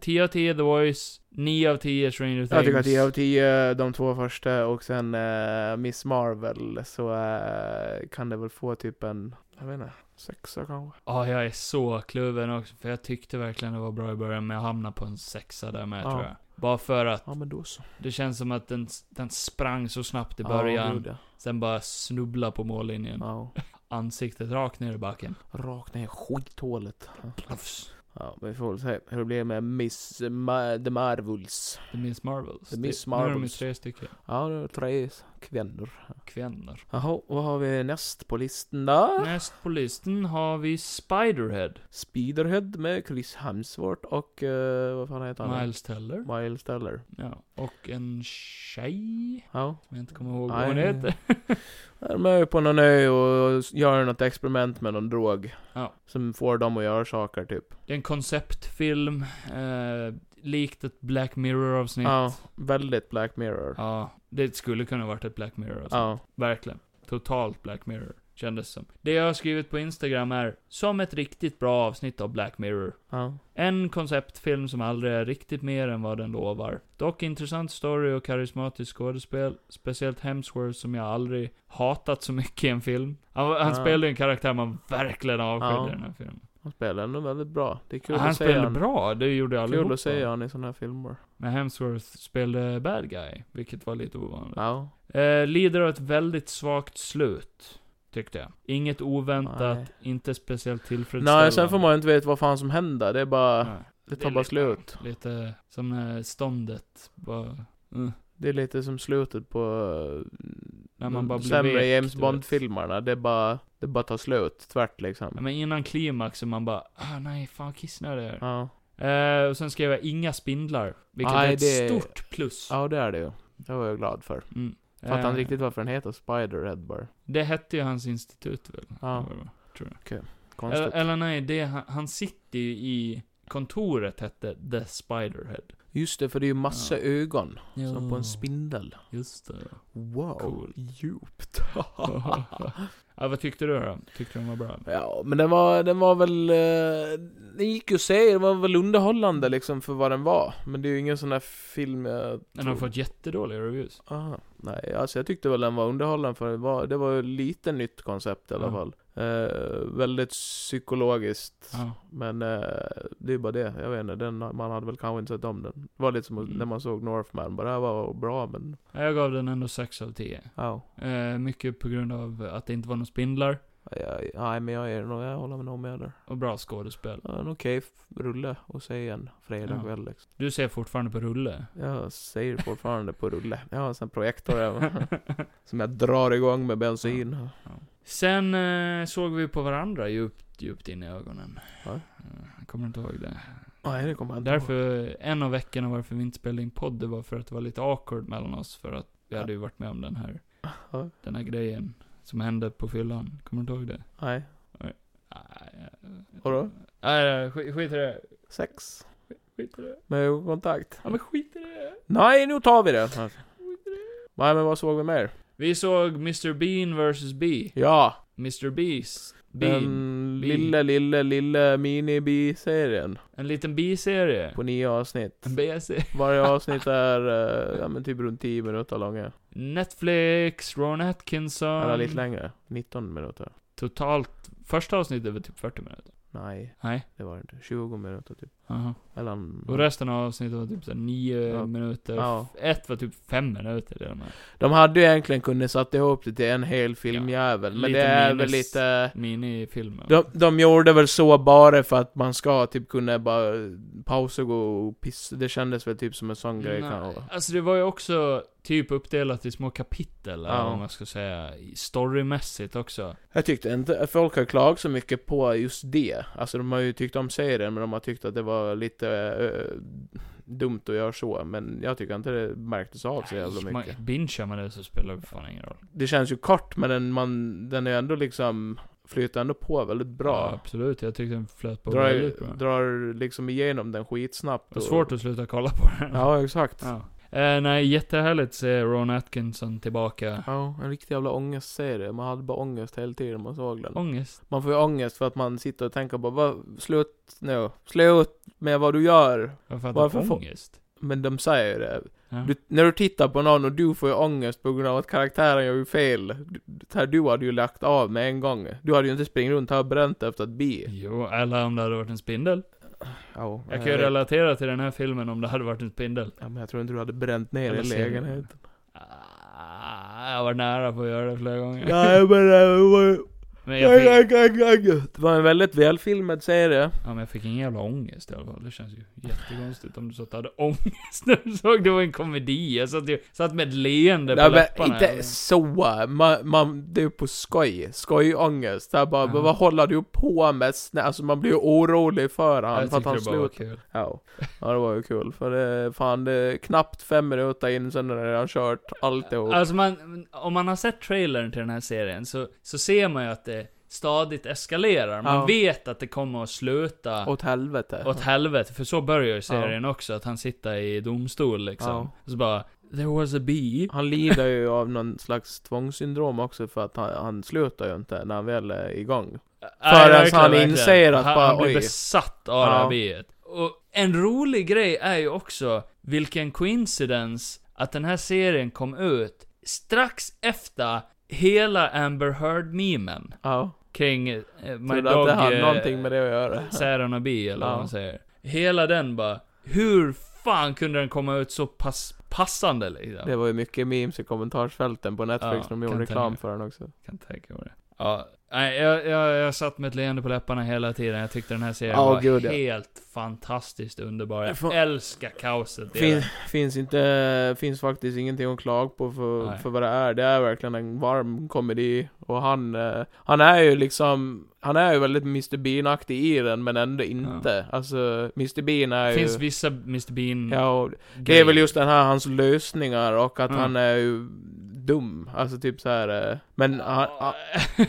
10 av 10 The Voice, 9 av 10 Stranger Things.
Jag tycker att 10 av 10, de två första och sen eh, Miss Marvel, så eh, kan det väl få typ en, jag vet inte, sexa kanske?
Ja, Ah, jag är så kluven också, för jag tyckte verkligen det var bra i början, men jag hamnade på en sexa där med
Ja.
tror jag. Bara för att
Ja, men då så.
det känns som att den, den sprang så snabbt i
Ja,
början,
gud, ja.
sen bara snubbla på mållinjen.
ja.
Ansiktet rakt ner i baken.
Rakt ner i skithålet.
Plafs.
Ja, vi får väl se hur det blir med Miss Ma- The Marvels.
The Miss Marvels.
The Miss
Det- Nu är de ju
Marvels.
tre stycken.
Ja, det är tre kvinnor.
Kvinnor.
Jaha, vad har vi näst på listan då?
Näst på listan har vi Spiderhead.
Speederhead med Chris Hemsworth och eh, vad fan heter han?
Miles Teller.
Miles Teller.
Ja. Och en tjej,
Ja.
som jag inte kommer ihåg vad
Nej.
hon heter.
De är ju på någon ö och gör något experiment med någon drog.
Ja.
Som får dem att göra saker typ.
Det är en konceptfilm, eh, likt ett Black Mirror-avsnitt.
Ja, väldigt Black Mirror.
Ja, det skulle kunna varit ett Black Mirror alltså.
Ja.
Verkligen. Totalt Black Mirror, kändes som. Det jag har skrivit på Instagram är, som ett riktigt bra avsnitt av Black Mirror.
Ja.
En konceptfilm som aldrig är riktigt mer än vad den lovar. Dock intressant story och karismatiskt skådespel. Speciellt Hemsworth som jag aldrig hatat så mycket i en film. Han, han
Ja.
spelade ju en karaktär man verkligen avskydde
Ja.
i den här filmen.
Han spelar ändå väldigt bra. Det är kul
han
att se
spelade
han.
bra, det gjorde jag allihopa.
Kul att se han i såna här filmer.
Men Hemsworth spelade bad guy, vilket var lite ovanligt.
Ja.
Eh, lider av ett väldigt svagt slut, tyckte jag. Inget oväntat,
Nej.
inte speciellt tillfredsställande.
Nej, sen får man ju inte veta vad fan som händer. Det är bara,
Nej,
det
är
tar bara
lite-
slut.
Lite som när ståndet bara... Mm.
Det är lite som slutet på eh,
När man
de
bara blir
sämre
vek,
James
du
Bond-filmerna. Det är bara, det bara tar slut. Tvärt liksom.
Ja, men innan klimaxen man bara, ah nej, fan kissnödig jag är.
Ja.
Eh, och sen skrev jag inga spindlar. Vilket
Nej,
är ett
det-
stort plus.
ja, det är det ju. Det var jag glad för.
Mm.
Fattar
Eh,
inte riktigt varför den heter Spider-Red bara.
Det hette ju hans institut väl?
Ja,
Eller vad?
konstigt.
Eller, eller nej, det, han, han sitter ju i kontoret hette The Spiderhead.
Just det, för det är ju massa
Ja.
ögon. Som på
Ja,
en spindel.
Just det.
Wow.
Cool.
Djupt.
ja, vad tyckte du då? Tyckte du den var bra?
Ja, men den var, den var väl... eh, Den gick ju att se, den var väl underhållande liksom för vad den var. Men det är ju ingen sån här film jag...
Den har
tror-
fått jättedåliga reviews.
Aha. Nej, alltså jag tyckte väl den var underhållande för det var, det var ju lite nytt koncept i alla
Ja.
fall. Eh, väldigt psykologiskt.
Ja.
Men eh, det är bara det, jag vet inte, den, man hade väl kanske inte sett om den. Det var lite som
Mm.
när man såg Northman, bara det här var bra men...
Jag gav den ändå 6 av 10.
Ja.
Eh, mycket på grund av att det inte var några spindlar.
Jag- Nej men jag, är, nog- jag håller med nog med där.
Och bra skådespel.
Ja, En okej f- rulle och se en fredag
Ja.
kväll liksom.
Du ser fortfarande på rulle.
Jag säger fortfarande på rulle. Jag har en sån projektor här, som jag drar igång med bensin.
Sen eh, såg vi på varandra djupt, djupt in i ögonen. Eh,
Ja.
Jag kommer inte ihåg det.
Nej det kommer jag inte ihåg.
Därför, en av veckorna varför vi inte spelade in podd, det var för att det var lite awkward mellan oss. För att vi
Ja.
hade ju varit med om den här,
Ja.
den här grejen som hände på fyllan. Kommer du inte ihåg det?
Nej.
Nej,
Vadå?
Nej, skit, skit i det.
Sex.
Skit i det.
Med ögonkontakt.
Ja men skit i det.
Nej nu tar vi det! Nej men vad såg vi mer?
Vi såg Mr Bean vs B.
Ja.
Mr Beast. Bean.
Den
Bi.
lilla, lilla, lilla mini-bi-serien.
En liten B-serie.
På nio avsnitt.
En B-serie.
Varje avsnitt är eh, ja, men typ runt 10 minuter långa.
Netflix, Ron
Eller lite
Atkinson.
längre. 19 minuter.
Totalt. Första avsnittet var typ 40 minuter.
Nej,
Nej.
det var det inte. 20 minuter typ.
Aha.
Eller...
Och resten av avsnittet var typ såhär 9
Ja.
minuter.
Ja.
Ett var typ 5 minuter. Det där
De hade ju egentligen kunnat satt ihop det till en hel filmjävel. men
Lite
det är väl
minus-
lite...
minifilmen.
De, de gjorde väl så bara för att man ska typ kunna bara pausa och gå och pissa. Det kändes väl typ som en sån grej
Nej,
kanske.
alltså det var ju också typ uppdelat i små kapitel, eller
Ja.
vad man ska säga. i- Storymässigt också.
Jag tyckte inte att folk har klagat så mycket på just det. Alltså de har ju tyckt om serien, men de har tyckt att det var lite eh, dumt att göra så. Men jag tycker inte det märktes av så jävla
Nej,
mycket.
man- Bingear man det så spelar det fan ingen roll.
Det känns ju kort, men den, man, den är ändå liksom, flyter ändå på väldigt
Ja,
bra.
absolut, jag tyckte den flöt på väldigt bra.
drar, drar liksom igenom den skitsnabbt.
Det var svårt att sluta kolla på den.
Ja, exakt.
Ja. Eh, nej, jättehärligt att se Ron Atkinson tillbaka.
Ja, en riktig jävla ångestserie. Man hade bara ångest hela tiden man såg den.
Ångest.
Man får ju ångest för att man sitter och tänker bara "Va, slut nu, slut med vad du gör.
Varför hade
Varför
han
får-
ångest?
Men de säger ju det.
Ja.
Du, när du tittar på någon och du får ju ångest på grund av att karaktären gör ju fel. Du, det här du hade ju lagt av med en gång. Du hade ju inte springt runt här och bränt efter ett bi.
Jo, eller om det hade varit en spindel.
Ja,
Jag kan ju
eh,
relatera till den här filmen om det hade varit en spindel.
ja, men jag tror inte du hade bränt ner
Eller
i
ser du?
lägenheten.
Ah, jag var nära på att göra det flera gånger.
Nej men det var ju...
Men jag fick,
Det var en väldigt välfilmad serie.
Ja men jag fick en jävla ångest i alla fall. Det känns ju jättekonstigt om du satt och hade ångest när du såg det var en komedi. Jag satt, ju, satt med ett leende på
Nej, men
läpparna.
inte så. Man, man, det är ju på skoj. Skojångest. Det är bara,
Ja.
vad håller du på med? Snä- Alltså man blir ju orolig för han.
jag
för att
tyckte
han
det bara var
slut.
kul.
Ja. ja, det var ju kul. För det, fan, det är knappt fem minuter in sen är det redan kört alltihop.
Alltså man, om man har sett trailern till den här serien så, så ser man ju att det stadigt eskalerar. Man
Ja.
vet att det kommer att sluta
Åt helvete.
åt helvete. För så börjar ju serien också, att han sitter i domstol liksom.
Ja.
Och så bara, there was a bee.
Han lider ju av någon slags tvångssyndrom också för att han, han slutar ju inte när han väl är igång.
Nej,
Förrän
verkligen,
han
verkligen.
inser att
han,
bara,
han blir
oj.
besatt av det
Ja.
här biet. Och en rolig grej är ju också vilken coincidence att den här serien kom ut strax efter hela Amber Heard-memen
Ja.
kring eh, My
Trodde att
Dog
det hade
eh,
någonting med det att göra.
Sarah och Bee eller
Ja.
vad man säger. Hela den bara, hur fan kunde den komma ut så pass passande liksom?
Det var ju mycket memes i kommentarsfälten på Netflix
Ja,
när de gjorde
kan
reklam
tänka.
för den också.
Kan tänka mig det. Ja, nej, jag, jag, jag satt med ett leende på läpparna hela tiden. Jag tyckte den här serien
Ja,
var
gud, ja.
helt fantastiskt underbar. Jag
Jag får-
älskar kaoset i
Fin,
den.
finns inte, finns faktiskt ingenting att klaga på för,
Nej.
för vad det är. Det är verkligen en varm komedi. Och han, eh, han är ju liksom, han är ju väldigt Mr Bean-aktig i den, men ändå inte. Alltså, Mr Bean är
Det finns
ju...
vissa Mr Bean
Ja, och det
grejer.
är väl just den här, hans lösningar och att
Mm.
han är ju dum. Alltså typ så här. eh, Men han,
Ja.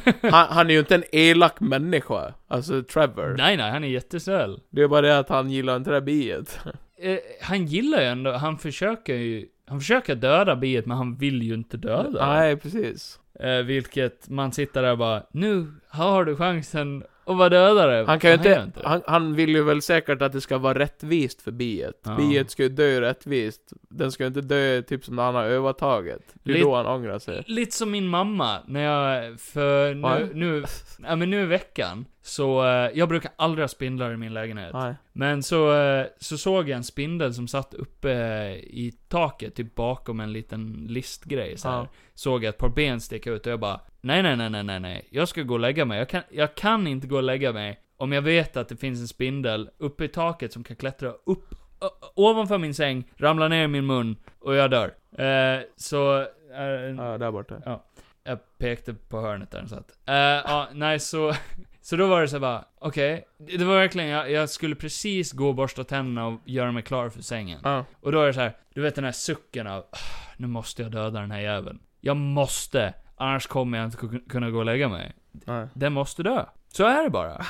han, han, han är ju inte en elak människa. Alltså Trevor.
Nej, nej, han är jättesnäll.
Det är bara det att han gillar inte det här biet.
Eh, han gillar ju ändå, han försöker ju, han försöker döda biet men han vill ju inte döda det.
Nej, precis.
eh, Vilket man sitter där och bara, nu har du chansen att vara dödare.
Han kan ju
gör
inte, han, han vill ju väl säkert att det ska vara rättvist för biet.
Ja.
Biet ska ju dö rättvist. Den ska ju inte dö typ som när han har övertaget. Det är
Lite-
då han ångrar sig.
Lite som min mamma, när jag, för
Oj.
nu, nu, ja men nu i veckan, så, eh, jag brukar aldrig ha spindlar i min lägenhet.
Nej.
Men så, eh, så såg jag en spindel som satt uppe eh, i taket, typ bakom en liten listgrej så här.
Ja.
Såg jag ett par ben sticka ut och jag bara, nej nej nej nej nej nej, jag ska gå och lägga mig. Jag kan, jag kan inte gå och lägga mig om jag vet att det finns en spindel uppe i taket som kan klättra upp, ö- ovanför min säng, ramla ner i min mun och jag dör. Eh, så, eh,
Ja, där borta.
jag pekade på hörnet där den satt. Eh, ja, nej så... Så då var det så här bara, okej. Det- Det var verkligen, jag, jag skulle precis gå och borsta tänderna och göra mig klar för sängen.
Ja.
Och då är det så här, du vet den här sucken av, "Ah, nu måste jag döda den här jäveln. Jag måste, annars kommer jag inte ku- kunna gå och lägga mig.
Nej.
Den måste dö. Så är det bara.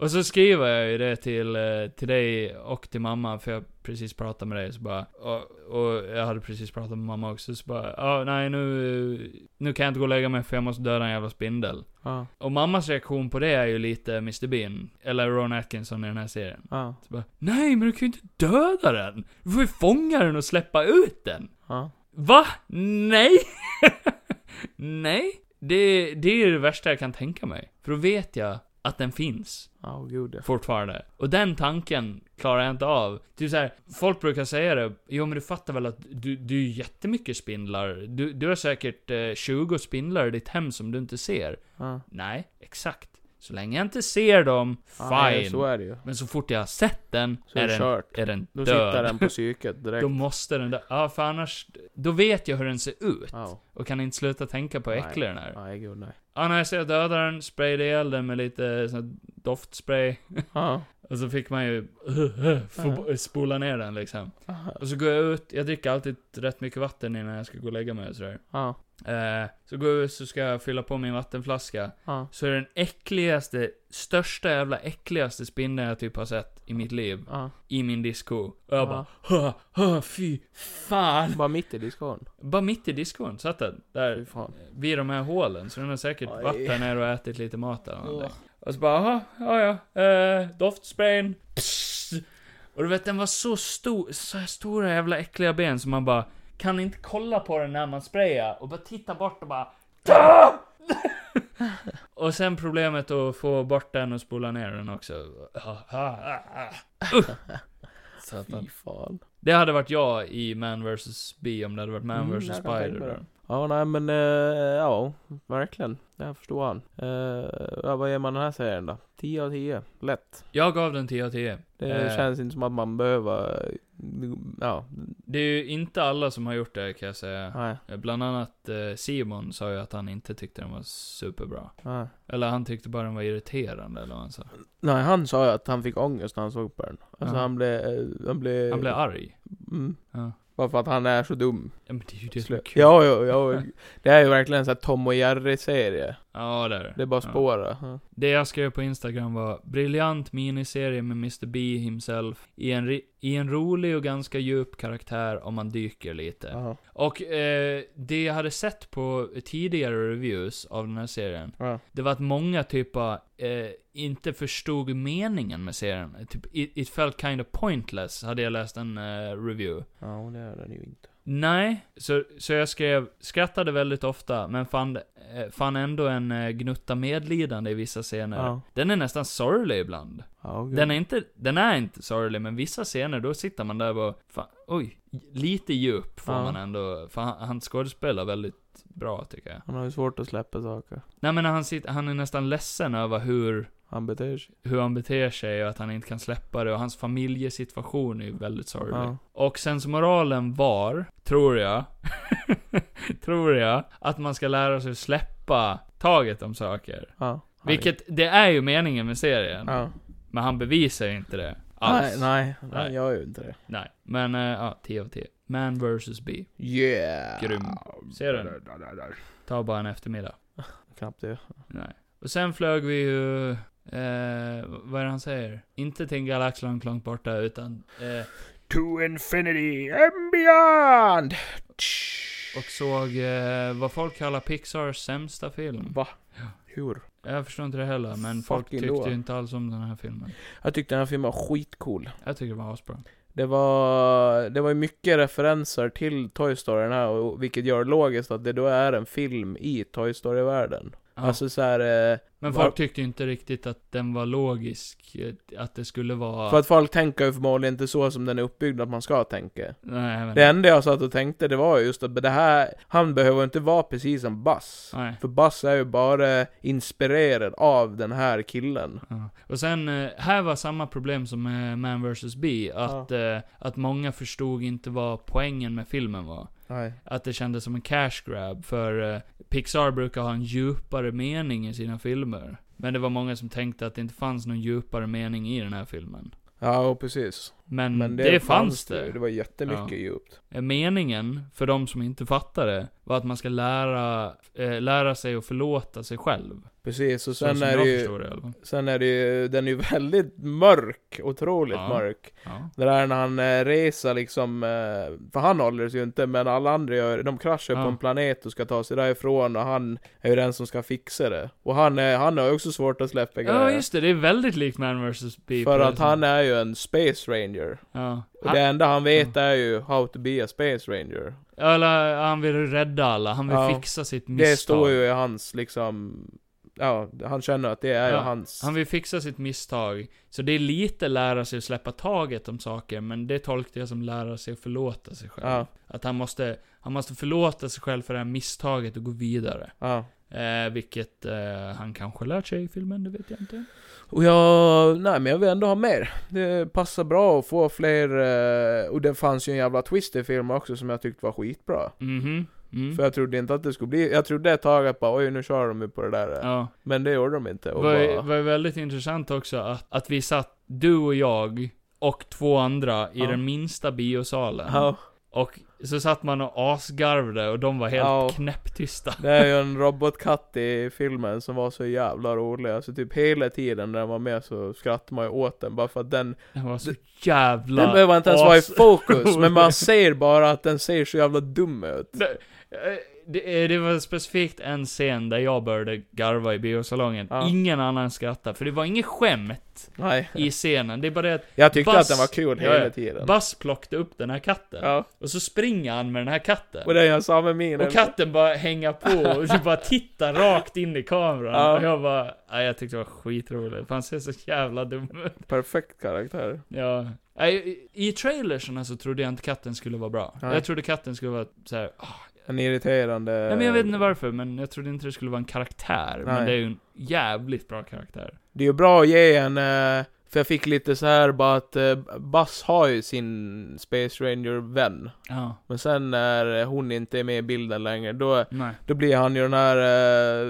Och så skriver jag ju det till, eh, till dig och till mamma, för jag precis pratade med dig, så bara, och, och jag hade precis pratat med mamma också, så bara, ja nej nu, nu kan jag inte gå och lägga mig för jag måste döda en jävla spindel.
Ja,
Och mammas reaktion på det är ju lite Mr Bean, eller Ron Atkinson i den här serien.
ja,
Så bara, nej men du kan ju inte döda den! Du får ju fånga den och släppa ut den!
ja.
Va? Nej! nej! Det, det är det värsta jag kan tänka mig. För då vet jag att den finns
Ja, oh, gud ja.
fortfarande. Och den tanken klarar jag inte av. Typ såhär, folk brukar säga det, jo men du fattar väl att du, du är jättemycket spindlar. Du, du har säkert eh, 20 spindlar i ditt hem som du inte ser.
Ja.
Nej, exakt. Så länge jag inte ser dem,
Ja, nej,
fine.
så är det ju.
Men så fort jag har sett den,
Så
är
är det
den,
kört.
är den
Då sitter
död.
den på psyket direkt.
Då måste den dö. Ja, för annars, då vet jag hur den ser ut.
Ja.
Och kan inte sluta tänka på hur
Nej.
äcklig den är.
Nej, gud nej.
Ja, när jag ser dödaren, sprayade ihjäl den med lite sån här doftspray.
Ja.
Och så fick man ju få- spola ner den liksom.
Ja.
Och så går jag ut, jag dricker alltid rätt mycket vatten innan jag ska gå och lägga mig och sådär.
Ja.
Eh, så går jag ut så ska jag fylla på min vattenflaska.
Ja.
Så är det den äckligaste, största jävla äckligaste spindeln jag typ har sett i mitt liv.
ja.
I min disco. Och jag bara, ha, ha, fy fan.
Bara mitt i diskon.
Bara mitt i diskon satt den. Där
Fy fan.
vid de här hålen, så den har säkert
Oj.
varit där nere och ätit lite mat eller någonting. Och så bara, aha, ja ja, eh, doftsprayen, psst. Och du vet, den var så stor, så här stora jävla äckliga ben som man bara, kan inte kolla på den när man sprayar och bara titta bort och bara, "Ah!" Och sen problemet att få bort den och spola ner den också. Ah, ah, ah, ah. Uh. Så att-
Fy fan. Mm,
Det hade varit jag i Man vs. B om det hade varit Man
Mm,
vs.
jag kan tänka
Spider.
mig det.
då.
Ja, nej men, eh, ja, verkligen. Jag förstår han. Eh, ja, vad ger man den här serien då? 10 av 10. Lätt.
Jag gav den 10 av 10.
Det
Eh.
känns inte som att man behöver, ja,
Det är ju inte alla som har gjort det kan jag säga.
nej,
Bland annat eh, Simon sa ju att han inte tyckte den var superbra.
nej.
Eller han tyckte bara den var irriterande eller vad han sa.
Nej, han sa ju att han fick ångest när han såg på den. Alltså
Ja.
han blev, eh, han blev...
Han blev arg.
Mm.
Ja.
Bara för att han är så dum.
ja men det är ju det som är
Ja,
kul.
ja, ja. Det är ju verkligen en sån här Tom och Jerry-serie.
Ja, det är det.
Det är bara
Ja.
spåra. Ja.
Det jag skrev på Instagram var briljant miniserie med Mr. B himself i en, ri- i en rolig och ganska djup karaktär om man dyker lite.
Ja.
Och eh, det jag hade sett på tidigare reviews av den här serien,
Ja.
det var att många typ bara, eh, inte förstod meningen med serien. Typ, it, it felt kind of pointless, hade jag läst en eh, review.
Ja, och det är den ju inte.
Nej, så, så jag skrev, skrattade väldigt ofta, men fann, eh, fann ändå en eh, gnutta medlidande i vissa scener.
Ja.
Den är nästan sorglig ibland.
Ja, gud.
Den är inte, den är inte sorglig, men vissa scener då sitter man där och bara, fan, oj, lite djup får
Ja.
man ändå, för han, han skådespelar väldigt bra tycker jag.
Han har ju svårt att släppa saker.
Nej men han, sitter, han är nästan ledsen över hur,
Han beter sig.
hur han beter sig och att han inte kan släppa det och hans familjesituation är ju väldigt sorglig.
Ja.
Och sen så moralen var, tror jag, tror jag, att man ska lära sig släppa taget om saker.
ja. Han är-
Vilket, det är ju meningen med serien.
Ja.
Men han bevisar ju inte det.
Nej,
Alls.
nej, han
Nej.
gör ju inte det.
Nej, men eh, ja, 10 av 10. Man vs. B.
Yeah!
Grym. Ser du den?
den?
Ta bara en eftermiddag.
Knappt det.
Nej. Och sen flög vi ju... Eh, vad är det han säger? Inte till en galax långt, långt borta, utan... Eh,
To infinity and beyond!
och såg eh, vad folk kallar Pixars sämsta film.
Va? Hur?
Jag förstår inte det heller, men folk
Fucking
tyckte
då.
ju inte alls om den här filmen.
Jag tyckte den här filmen var skitcool.
Jag tycker den var asbra.
Det var, det var ju mycket referenser till Toy Story den här, och, vilket gör logiskt att det då är en film i Toy Story-världen.
Ja.
Alltså såhär, eh,
men
var-
folk tyckte ju inte riktigt att den var logisk, eh, att det skulle vara...
för att folk tänker ju förmodligen inte så som den är uppbyggd att man ska tänka.
Nej, jag vet
Det
inte.
enda jag satt och tänkte det var just att det här, han behöver inte vara precis som Buzz.
Nej.
För Buzz är ju bara inspirerad av den här killen.
Ja. Och sen, eh, här var samma problem som med Man vs. B. Att, eh, att många förstod inte vad poängen med filmen var.
Nej.
Att det kändes som en cash grab, för eh, Pixar brukar ha en djupare mening i sina filmer. Men det var många som tänkte att det inte fanns någon djupare mening i den här filmen.
Ja, och precis.
Men, Mm, det, fanns det.
Det var jättemycket
Ja.
djupt.
Eh, Meningen, för de som inte fattar det, var att man ska lära, eh, lära sig att förlåta sig själv.
Precis, och
Så
sen
som
är
jag
det ju...
förstår det i alla fall.
Sen är det ju, den är ju väldigt mörk. Otroligt
Ja.
mörk.
Ja.
Det där när han eh, reser liksom, eh, för han håller sig ju inte, men alla andra gör De kraschar
Ja.
på en planet och ska ta sig därifrån och han är ju den som ska fixa det. Och han, är, han har ju också svårt att släppa
ja, just det. Det är väldigt likt Man vs. Bee.
För
på det
att
sättet.
han är ju en Space Ranger.
Ja.
Och det enda han vet är ju How to be a Space Ranger.
Han, eller, han vill rädda alla. Han vill
Ja.
fixa sitt misstag.
Det står ju i hans liksom, ja, han känner att det är ju
Ja,
hans.
Han vill fixa sitt misstag. Så det är lite lära sig att släppa taget om saker, men det tolkar jag som lära sig att förlåta sig själv.
Ja,
Att han måste, han måste förlåta sig själv för det här misstaget och gå vidare.
ja.
Eh, vilket eh, han kanske lärt sig i filmen, det vet jag inte.
Och jag, nej men jag vill ändå ha mer. Det passar bra att få fler, eh, och det fanns ju en jävla twist i filmen också som jag tyckte var skitbra.
Mhm. Mm.
För jag trodde inte att det skulle bli, jag trodde ett tag att bara oj nu kör de ju på det där. eh."
Ja.
Men det gjorde de inte.
Det
Och
var,
bara,
var väldigt intressant också att, att vi satt, du och jag, och två andra i
Ja.
den minsta biosalen.
ja,
Och så satt man och asgarvde och de var helt
Ja.
knäpptysta.
det är ju en robotkatt i filmen som var så jävla rolig. Alltså typ hela tiden när den var med så skrattade man ju åt den bara för att den,
Den var så jävla...
den behöver inte ens vara i
as-
fokus. men man ser bara att den ser så jävla dum ut.
Det, eh, det, eh, det var specifikt en scen där jag började garva i biosalongen.
Ja.
Ingen annan skrattade, för det var inget skämt
Nej.
i scenen. Det är bara det att
Jag tyckte
Buzz-
att den var kul
Ja, ja.
hela tiden.
Buzz plockade upp den här katten.
Ja.
Och så springer han med den här katten.
Och den gör samma min.
Och katten bara hänga på och du bara tittar rakt in i kameran.
Ja.
Och jag bara, nej jag tyckte det var skitroligt. för Han ser så jävla dum ut.
Perfekt karaktär.
Ja. Nej, i- I trailersen så trodde jag inte katten skulle vara bra.
Nej.
Jag trodde katten skulle vara såhär, ah,
En irriterande...
nej men jag vet inte varför, men jag trodde inte det skulle vara en karaktär. Men
Eh, Nej.
det är ju en jävligt bra karaktär.
Det är ju bra att ge en... eh, För jag fick lite så här bara att eh, Buzz har ju sin Space Ranger-vän.
Ja,
Men sen när hon inte är med i bilden längre, då,
nej,
då blir han ju den här... eh,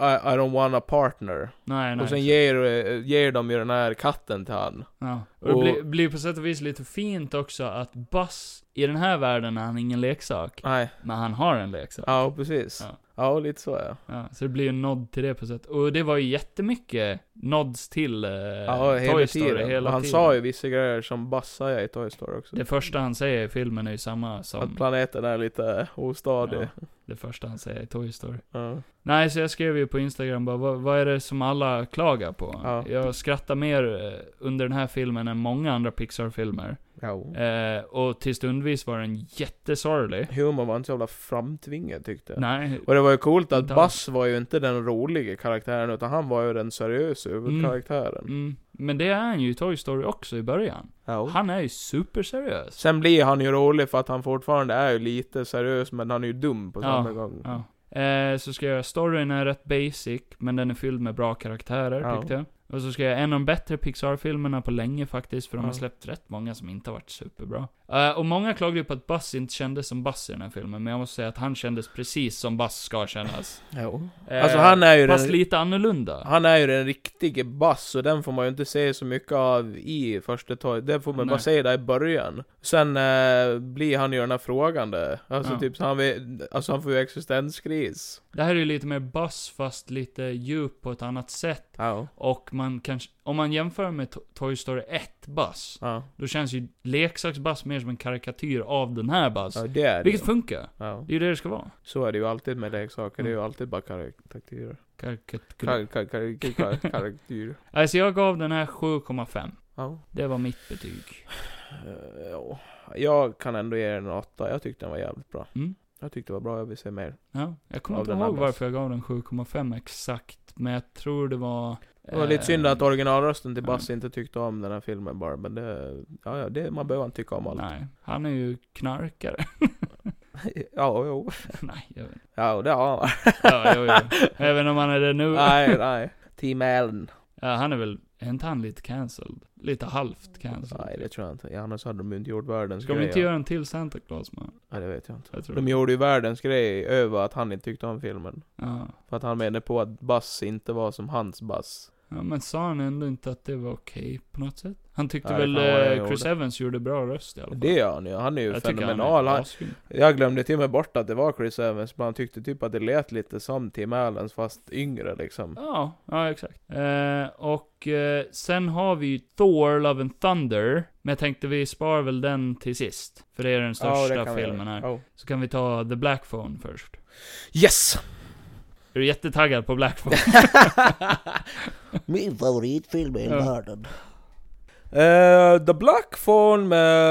I, I don't want a partner.
nej, nej.
Och sen ger, eh, ger de ju den här katten till han.
ja. och det
och-
blir, blir på sätt och vis lite fint också att Buzz, i den här världen har han ingen leksak.
Nej,
Men han har en leksak.
ja precis.
Ja. Eh,
Ja, lite så ja.
Ja, så det blir ju en nod till det på sätt. Och det var ju jättemycket nods till eh,
Ja, hela
Toy Story
tiden.
hela
Och han
tiden.
sa ju vissa grejer som Buzz säger i Toy Story också.
Det första han säger i filmen är ju samma
Att
som
planeten är lite ostadig.
Ja. det första han säger i Toy Story.
Ja.
Nej, så jag skrev ju på Instagram bara, vad, vad är det som alla klagar på?
Ja.
Jag skrattar mer eh, under den här filmen än många andra Pixar-filmer. Eh, och till stundvis var den jättesorglig.
Humor var inte så jävla framtvingad tyckte jag.
Nej,
Och det var ju coolt att
Inte
Buzz var ju inte den roliga karaktären utan han var ju den seriösa huvudkaraktären.
mm, men det är han ju i Toy Story också i början.
Ja.
Han är ju superseriös.
Sen blir han ju rolig för att han fortfarande är ju lite seriös men han är ju dum på
Ja,
samma gång.
Ja. Eh, så ska jag göra storyn är rätt basic, men den är fylld med bra karaktärer
Ja.
tyckte jag. Och så ska jag göra en av de bättre Pixar-filmerna på länge faktiskt, för de har
Ja.
släppt rätt många som inte har varit superbra. Eh, och många klagade ju på att Buzz inte kändes som Buzz i den här filmen, men jag måste säga att han kändes precis som Buzz ska kännas. Eh,
Alltså han är ju
Fast
den...
lite annorlunda.
Han är ju den riktige Buzz och den får man ju inte se så mycket av i första taget. Den får man
Nej.
bara se där i början. Sen eh, blir han ju den här frågande. Alltså
Ja.
typ så han, vet- alltså, han får ju existenskris.
Det här är ju lite mer Buzz, fast lite djup på ett annat sätt.
Ja.
Och man kanske, om man jämför med to- Toy Story 1 Buzz,
Ja,
då känns ju leksaks-Buzz mer som en karikatyr av den här Buzz.
ja det är det ju.
Vilket funkar.
Ja.
Det är ju det det ska vara.
Så är det ju alltid med leksaker, det är ju
Mm.
alltid bara karaktärer.
Karikatyr.
Kar- kar- kar- kar- kar- Karaktärer.
Alltså jag gav den här 7,5.
Ja.
Det var mitt betyg.
Eh, ja. Jag kan ändå ge den en åtta, jag tyckte den var jävligt bra.
Mm.
Jag tyckte det var bra, jag vill se mer.
Ja, jag kommer
Av
inte
den
ihåg
andras.
varför jag gav den 7,5 exakt, men jag tror det var...
Det var lite
eh,
synd att originalrösten till
ja.
Bass inte tyckte om den här filmen bara, men det... Ja, ja, det, man behöver inte tycka om allt.
Nej, han är ju knarkare.
Ja, jo.
nej, jag vet inte.
Ja, och det har han.
Ja, jo, jo. Även om han är det nu.
Nej, nej. Team Allen.
Ja, han är väl... Är inte han lite cancelled? Lite halvt cancelled.
Nej, det tror jag inte. Ja, Annars hade de ju inte gjort världens
Ska de
grej.
inte göra en till Santa Claus man?
Ja, det vet jag inte.
Jag tror
De
det.
gjorde ju världens grej över att han inte tyckte om filmen.
Ja.
För att han menade på att Bass inte var som hans Bass.
Ja, men sa han ändå inte att det var okej på något sätt? Han tyckte
Ja, det
väl
kan vara det
eh,
jag
Chris
gjorde.
Evans gjorde bra röst i alla fall.
Det gör han ju, han är ju
Jag tycker han är
fenomenal. Han
asgrym.
jag glömde till och med bort att det var Chris Evans, men han tyckte typ att det lät lite som Tim Allens fast yngre liksom.
Ja, ja exakt. Eh, och eh, sen har vi ju Thor, Love and Thunder. Men jag tänkte vi sparar väl den till sist. För det är den
Ja, det
största
kan vi
filmen
göra.
här.
Ja.
Så kan vi ta The Black Phone först.
Yes!
Är du jättetaggad på Black Phone?
Min favoritfilm i hela
Ja.
världen.
Eh, The Black Phone med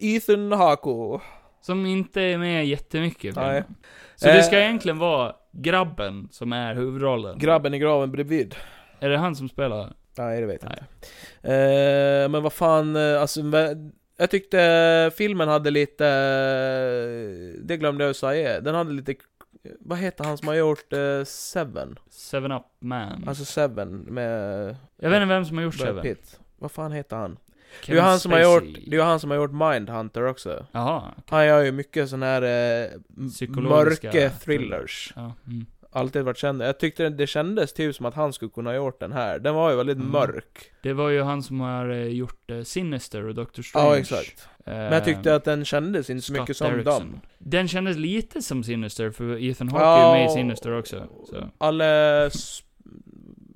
Ethan Hawke.
som inte är med jättemycket i filmen.
Nej.
Så det
Eh,
ska egentligen vara grabben som är huvudrollen.
Grabben i graven bredvid.
är det han som spelar?
Nej, det vet jag
Nej.
inte. Eh, men vad fan, eh, alltså... vä- Jag tyckte filmen hade lite... eh, Det glömde jag säga. Den hade lite... Vad heter han som har gjort eh, Seven?
Seven Up Man.
Alltså Seven med
jag vet inte vem som har gjort
Brad
Seven.
Pitt. Vad fan heter han? Det är
Kevin
ju han som har gjort,
Spacey.
det är ju han som har gjort Mindhunter också.
Jaha.
Han gör ju mycket sån här eh, m-
Psykologiska
mörka thrillers.
Ja, mm.
Alltid varit känd. Jag tyckte det kändes typ som att han skulle kunna ha gjort den här. Den var ju väldigt
Mm.
mörk.
Det var ju han som har eh, gjort eh, Sinister och Doctor Strange. Eh,
Ja, exakt. Mm. Men jag tyckte att den kändes inte så mycket som dem.
Den kändes lite som Sinister, för Ethan Hawke
Ja,
är ju med i Sinister också. Så.
Alla... Sp-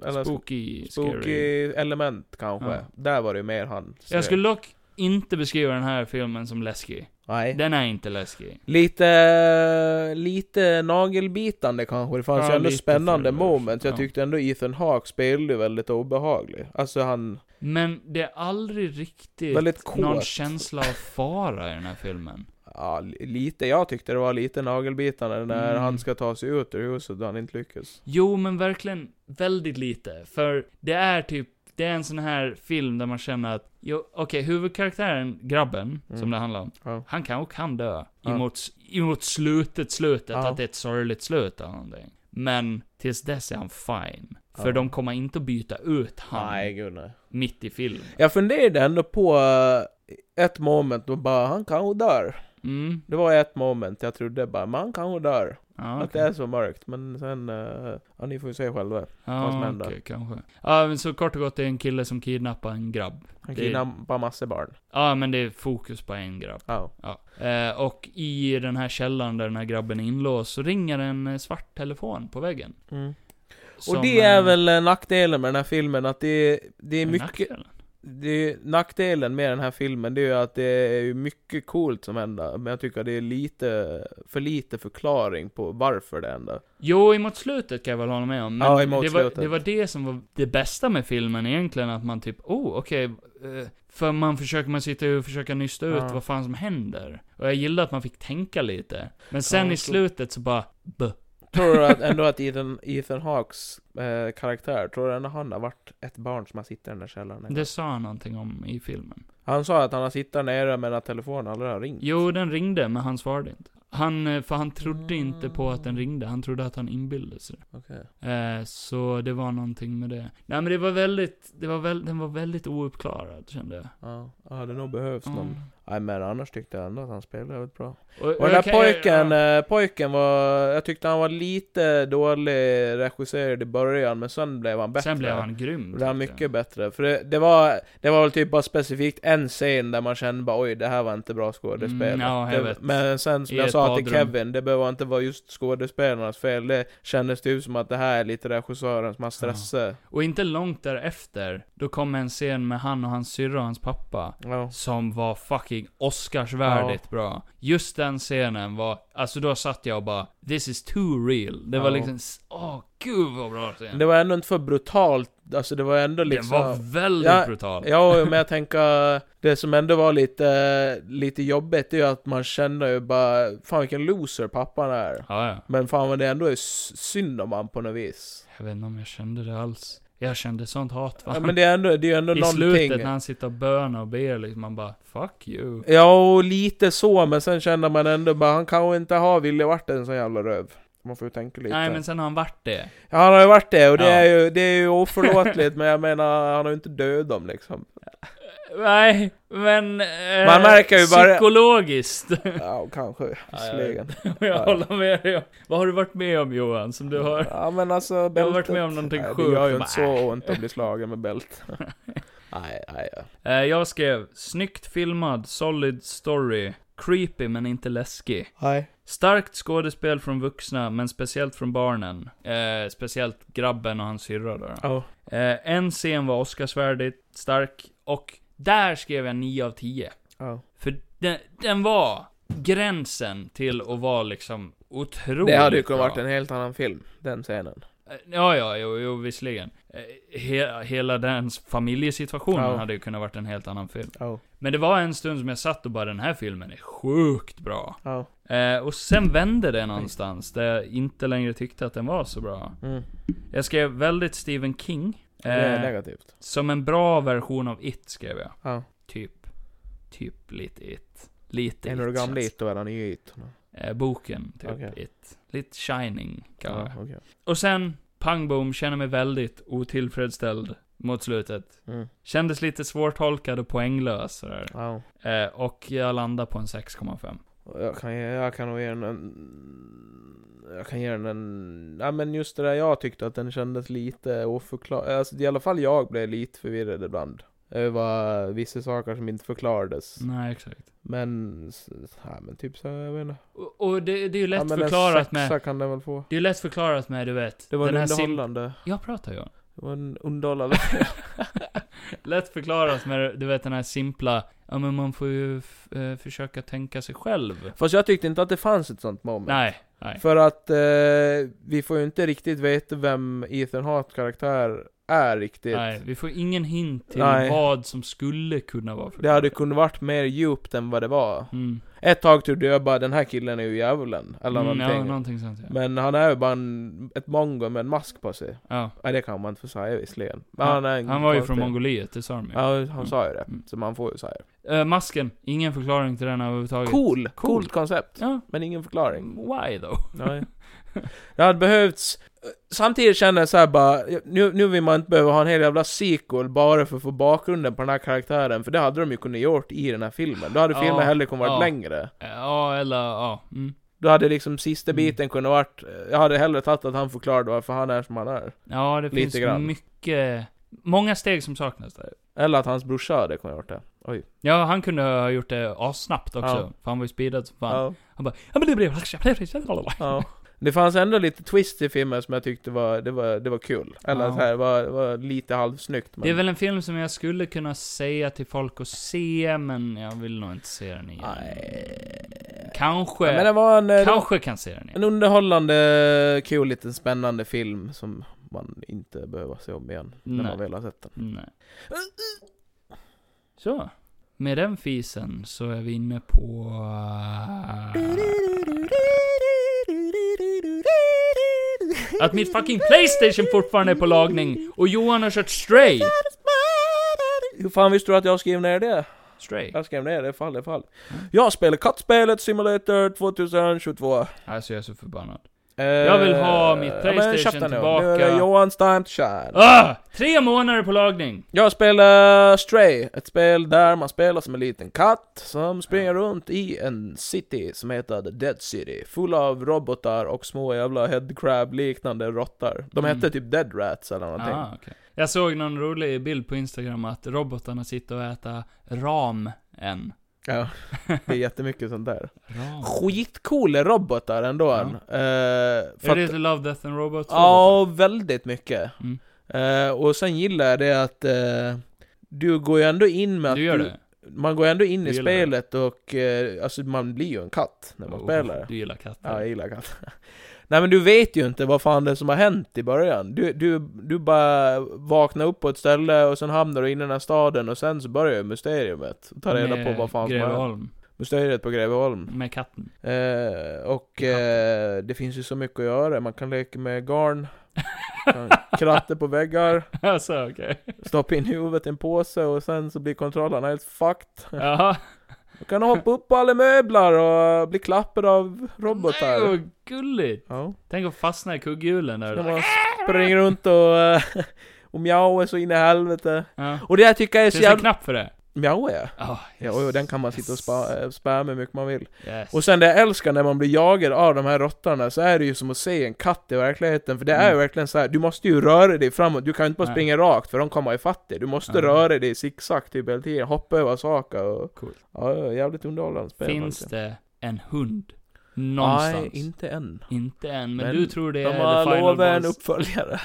eller sp-
Spooky, scary.
spooky element kanske.
Ja.
Där var det ju mer han.
Jag skulle dock inte beskriva den här filmen som läskig.
Nej.
Den är inte läskig.
Lite, lite nagelbitande kanske. Det fanns
Ja,
ju ändå
lite
spännande
thrillers.
moment. Jag
Ja.
tyckte ändå Ethan Hawke spelade väldigt obehaglig. Alltså han,
Men det är aldrig riktigt
väldigt kåt.
någon känsla av fara i den här filmen.
Ja, li- lite. Jag tyckte det var lite nagelbitande när
Mm.
han ska ta sig ut ur huset och han inte lyckas.
Jo, men verkligen väldigt lite. För det är typ, det är en sån här film där man känner att, jo, okej, huvudkaraktären, grabben, som
Mm.
det handlar om,
Ja.
han kan och kan dö.
Ja.
Emot, emot slutet, slutet,
Ja.
att det är ett sorgligt slut eller någonting. Men tills dess är han fine. För
Ja.
de kommer inte att byta ut han
Nej, gud nej.
mitt i filmen.
Jag funderade ändå på eh, ett moment då bara, han kanske dör.
Mm,
Det var ett moment jag trodde bara, men han kanske dör.
ja,
Att det är så mörkt. Men sen, eh, ja ni får ju se själva. vad som
Ja,
händer.
okej, kanske. Ja, men så kort och gott, det är en kille som kidnappar en grabb.
Han
Det-
kidnappar massor barn.
Ja, men det är fokus på en grabb.
Ja.
Ja. Eh, och i den här källaren där den här grabben är inlåst, så ringer en eh, svart telefon på väggen.
Mm.
Som,
Och det är
eh,
väl eh, nackdelen med den här filmen, att det, det är
en
mycket...
nackdel.
Det är, nackdelen med den här filmen, det är ju att det är ju mycket coolt som händer, men jag tycker det är lite, för lite förklaring på varför det händer.
Jo, emot slutet kan jag väl hålla med om. Men
Ja, emot
det, var,
slutet.
det var det som var det bästa med filmen egentligen, att man typ, oh, okej. eh, för man försöker, man sitter och försöker nysta ut
Ja.
vad fan som händer. Och jag gillar att man fick tänka lite. Men sen i
jag tror-
slutet så bara, buh.
Tror du att, ändå att Ethan, Ethan Hawks eh, karaktär, tror du ändå han har varit ett barn som har suttit i den där källaren? en gång?
Det sa han någonting om i filmen.
Han sa att han har suttit nere men att telefonen aldrig har ringt.
Jo, den ringde, men han svarade inte. Han, eh, för han trodde
Mm.
inte på att den ringde, han trodde att han inbillade sig det.
Okej.
Eh, så det var någonting med det. Nej men det var väldigt, det var väl, den var väldigt ouppklarad kände jag.
Ja, ja, det nog behövs
Mm.
någon. Nej men annars tyckte jag ändå att han spelade väldigt bra.
Och,
Och den
jag
där
kan-
pojken,
jag-
eh, pojken var... Jag tyckte han var lite dålig regisserad i början, men sen blev han eh, bättre.
Sen blev han grym.
blev han
tyckte jag.
mycket bättre. För det, det var... Det var väl typ bara specifikt en scen där man kände bara oj, det här var inte bra skådespel.
Mm, ja, jag
det,
vet.
men sen som
I
jag
ett
sa till
badrum.
Kevin, det behöver inte vara just skådespelarnas fel. Det kändes typ som att det här är lite regissören som har stressat.
Och inte långt därefter, då kom en scen med han och hans syrra och hans pappa.
Ja.
Som var fucking Oscarsvärdigt bra. Just den scenen var, alltså då satt jag och bara 'This is too real' Det var
Ja.
liksom, s- åh gud vad bra scen.
Det var ändå inte för brutalt. Alltså det var ändå liksom...
Den var väldigt
Ja,
brutal.
Ja, men jag tänker, det som ändå var lite, lite jobbigt är ju att man känner ju bara, fan vilken loser pappan är.
Ja, ja.
Men fan vad det ändå är s- synd om han på något vis.
Jag vet inte om jag kände det alls. Jag kände sånt hat va?
Ja, men det är ändå, det är ju ändå
I
någonting.
slutet när han sitter och bönar och ber liksom, man bara 'Fuck you'
Ja, och lite så, men sen känner man ändå bara, han kanske inte har ville varit en sån jävla röv. Man får ju tänka lite.
Nej men sen har han varit det.
Han har ju varit det, och det,
Ja.
är, ju, det är ju oförlåtligt, men jag menar, han har ju inte dödat dem liksom.
Nej, men... eh,
Man märker ju bara-
Psykologiskt.
Ja, kanske. Visserligen.
jag håller med dig. Vad har du varit med om Johan, som du har?
Ja, men alltså
Jag
bältet.
har varit med om någonting
Nej,
sjukt.
det gör
Bara,
ju
äh.
inte så ont att bli slagen med bält. nej, nej. ja.
Eh, Jag skrev, snyggt filmad, solid story, creepy men inte läskig.
Nej.
Starkt skådespel från vuxna, men speciellt från barnen. Eh, speciellt grabben och hans syrra där.
Ja.
Eh, en scen var Oscarsvärdigt stark, och där skrev jag 9 av 10.
Ja.
För den, den var gränsen till att vara liksom otroligt
Det hade ju kunnat
bra.
varit en helt annan film, den scenen.
Eh, Ja, ja, jo, jo visserligen. Eh, He, hela den familjesituationen
Ja.
hade ju kunnat varit en helt annan film.
Ja.
Men det var en stund som jag satt och bara den här filmen är sjukt bra.
Ja.
Eh, och sen vände det någonstans där jag inte längre tyckte att den var så bra.
Mm.
Jag skrev väldigt Stephen King.
Det är
Eh,
negativt.
som en bra version av It skrev jag.
Ja.
Typ. Typ lite It. Lite
En
It.
år gammal
känns-
hit och en ny hit.
Eh, boken, typ
Okej.
It. Lite Shining kanske.
Ja, okej.
Och sen, pang boom, känner mig väldigt otillfredsställd mot slutet.
Mm.
Kändes lite svårtolkad och poänglös sådär.
Ja.
Eh, och jag landar på en 6,5.
Jag kan, ge- jag kan nog ge den en... Jag kan ge den en... Ja men just det där jag tyckte att den kändes lite oförklarad. Alltså i alla fall jag blev lite förvirrad ibland. Över vissa saker som inte förklarades.
Nej, exakt.
Men... s- Ja men typ så, jag vet inte.
Och, och det, det är ju lätt
ja, men en
förklarat med...
sexa kan den väl få.
Det är ju lätt förklarat med, du vet.
Det var en
sim-
underhållande...
Jag pratar ju.
Det var en underhållande...
Lätt förklarat med, du vet, den här simpla... Ja, men man får ju f- eh, försöka tänka sig själv.
Fast jag tyckte inte att det fanns ett sånt moment.
Nej, nej.
För att eh, vi får ju inte riktigt veta vem Ethan Hawke karaktär är riktigt.
Nej, vi får ingen hint till
Nej.
vad som skulle kunna vara för
Det hade kunnat varit mer djupt än vad det var.
Mm.
Ett tag trodde jag bara den här killen är ju djävulen, eller
Mm, ja,
någonting.
någonting sånt ja.
Men han är ju bara en, ett mongo med en mask på sig.
ja.
Nej det kan man inte få säga visserligen. Men
Ja,
han, är en
Han var ju från
konstig-
Mongoliet, det sa de ju.
Ja, han sa ju det.
Mm.
Så man får ju säga det.
Eh, masken, ingen förklaring till den överhuvudtaget.
Cool! Coolt koncept.
Ja.
Men ingen förklaring.
Why though?
Nej. Det hade behövts... eh, Samtidigt känner jag såhär bara, nu, nu vill man inte behöva ha en hel jävla sequel bara för att få bakgrunden på den här karaktären, för det hade de ju kunnat gjort i den här filmen. Då hade
Ja,
filmen hellre kunnat varit
ja.
längre.
Eh, Ja, eller ja. Mm.
Då hade liksom sista
Mm.
biten kunnat varit, eh, jag hade hellre tagit att han förklarade varför han är som han är.
Ja, det
Lite
finns
grann.
mycket... Många steg som saknas där.
Eller att hans brorsa hade kunnat gjort det. Oj.
Ja, han kunde ha gjort det assnabbt också.
Ja.
För han var ju speedad som fan.
Ja,
Ja, men det blev...
ja. Det fanns ändå lite twist i filmen som jag tyckte var, det var, det var kul. Eller
Ja.
så här, var, var lite halvsnyggt. Men...
Det är väl en film som jag skulle kunna säga till folk att se, men jag vill nog inte se den igen.
Nej.
Kanske...
Ja, men det var en... eh,
kanske kan se den igen.
En underhållande, kul, liten spännande film som man inte behöver se om igen när
Nej.
man väl har sett den.
Nej. Så. Med den fisen så är vi inne på... Att mitt fucking Playstation fortfarande är på lagning och Johan har kört Stray.
Hur fan visste du att jag skrev ner det?
Stray?
Jag skrev ner det fall i fall.
Mm.
Jag spelar kattspelet Simulator 2022.
Alltså jag är så förbannad.
Eh,
Jag vill ha mitt
ja, men
PlayStation
köp den nu. Nu är
tillbaka.
det Johans time to shine.
Ah! Tre månader på lagning!
Jag spelar Stray, ett spel där man spelar som en liten katt som springer runt i en city som heter The Dead City, full av robotar och små jävla headcrab-liknande råttor. De
Mm.
hette typ Dead Rats eller någonting.
Ah, okej. Jag såg någon rolig bild på Instagram att robotarna sitter och äter ram än.
Ja, det är jättemycket sånt där.
Ram.
Skitcoola robotar ändå.
Ja.
Eh, för
Är
att-
det The Love, Death and Robots?
Ja, väldigt mycket.
Mm.
Eh, och sen gillar jag det att eh, du går ju ändå in med att
Du gör det?
man går ändå in
Du
i
gillar det.
spelet och eh, alltså man blir ju en katt när man
Oh,
spelar.
Du gillar katter?
Ja, jag gillar katter. Nej men du vet ju inte vad fan det är som har hänt i början. Du, du, du bara vaknar upp på ett ställe och sen hamnar du in i den här staden och sen så börjar ju mysteriet. Ta reda
Med
på vad fan som har hänt.
Greveholm.
Mysteriet på Greveholm.
Med katten.
Eh, och
Katten.
eh, det finns ju så mycket att göra. Man kan leka med garn, kan kratta på väggar,
alltså, okej.
stoppa in huvudet i en påse och sen så blir kontrollen helt fucked.
Jaha.
Du kan hoppa upp på alla möbler och bli klappad av
Nej,
robotar.
vad gulligt.
Ja.
Tänk att fastna i kugghjulen där.
När man springer runt och, eh, och mjauar så in i helvete.
Ja.
Och det jag tycker är så
Finns det en
jävla...
knapp för det?
Mjaue ja.
Ah,
Ja, och den kan man sitta och spa, eh, spamma hur mycket man vill.
Yes.
Och sen det jag älskar när man blir jagad av de här råttorna så är det ju som att se en katt i verkligheten. För det är ju
Mm.
verkligen så här. du måste ju röra dig framåt. Du kan ju inte bara
Nej.
springa rakt för de kommer ifatt dig. Du måste
Ja.
röra dig zigzag typ hela tiden. Hoppa över saker och...
Coolt.
Ja, ja, jävligt underhållande spel.
Finns
verkligen.
det en hund?
Nej,
Någonstans?
inte än.
Inte än, men,
Men
du tror det
De
är the
har
final
lovat en
boss?
uppföljare.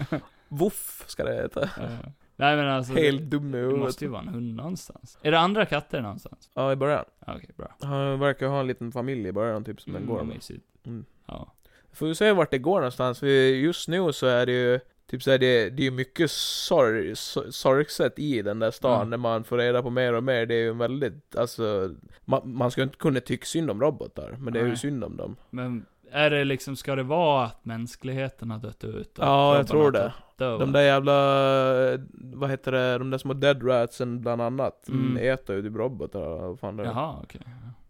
Woof ska det heta.
Ja. Nej men alltså,
Helt dum i
Mm. det
huvudet.
måste ju vara en hund någonstans. Är det andra katter någonstans?
Ja, i början.
Ja, Okej, bra.
Han verkar ha en liten familj i början typ som den går med.
mysigt.
Mm.
Ja.
Får vi se vart det går någonstans, för just nu så är det ju Typ såhär, det, det är ju mycket sorg, so- sorgset i den där stan,
Mm.
när man får reda på mer och mer. Det är ju en väldigt, alltså Man, man ska ju inte kunna tycka synd om robotar, men det är ju
Nej.
synd om dem.
Men är det liksom, ska det vara att mänskligheten har dött ut? och
Ja, jag
robbarna
tror
har
det.
dött över?
De där jävla, vad heter det, de där små dead ratsen bland annat,
Mm.
äter ju typ robotar och vad fan det är.
Jaha, okej.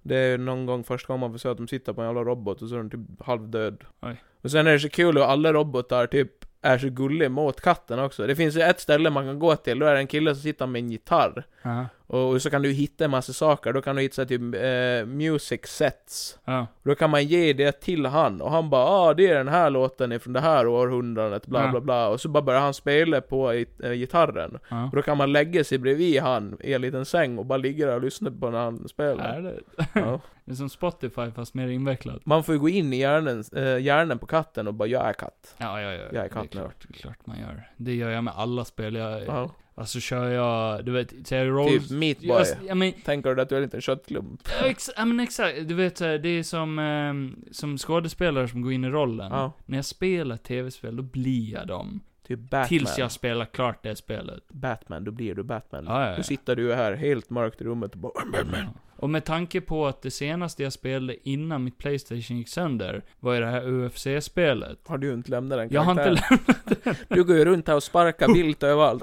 Det är ju någon gång första gången man får se att de sitter på en jävla robot och så är de typ halvdöd.
Oj.
Och sen är det så kul hur alla robotar typ är så gulliga mot katten också. Det finns ju ett ställe man kan gå till, då är det en kille som sitter med en gitarr.
Ja.
Och, och så kan du hitta en massa saker, då kan du hitta så här typ eh, music sets.
Ja.
Då kan man ge det till han, och han bara ah det är den här låten ifrån det här århundradet, bla
Ja.
bla bla. Och så bara börjar han spela på git- eh, gitarren.
ja.
Och då kan man lägga sig bredvid han i en liten säng och bara ligga där och lyssna på när han spelar.
Är det?
Ja.
det är som Spotify fast mer invecklat.
Man får ju gå in i hjärnan, eh, hjärnan på katten och bara 'Jag är katt'
Ja, ja, ja.
Jag är
det
katt nu.
klart, klart man gör. Det gör jag med alla spel. Jag,
ja.
Alltså kör jag, du vet, säger jag
Typ
rolls...
Meat Boy.
jag, ja, men,
Tänker du att du är en liten köttklump?
ex, ja, men exakt, du vet så här, det är som, ehm, som skådespelare som går in i rollen.
Ja.
När jag spelar tv-spel, då blir jag dem.
Typ Batman.
Tills jag spelar klart det spelet.
Batman, då blir du Batman.
Ja, ja, ja.
Då sitter du här helt mörkt i rummet och bara
Ja. Och med tanke på att det senaste jag spelade innan mitt Playstation gick sönder, var ju det här UFC-spelet.
Har du inte lämnat den
Jag har inte
karaktären? Du går ju runt här och sparkar vilt överallt.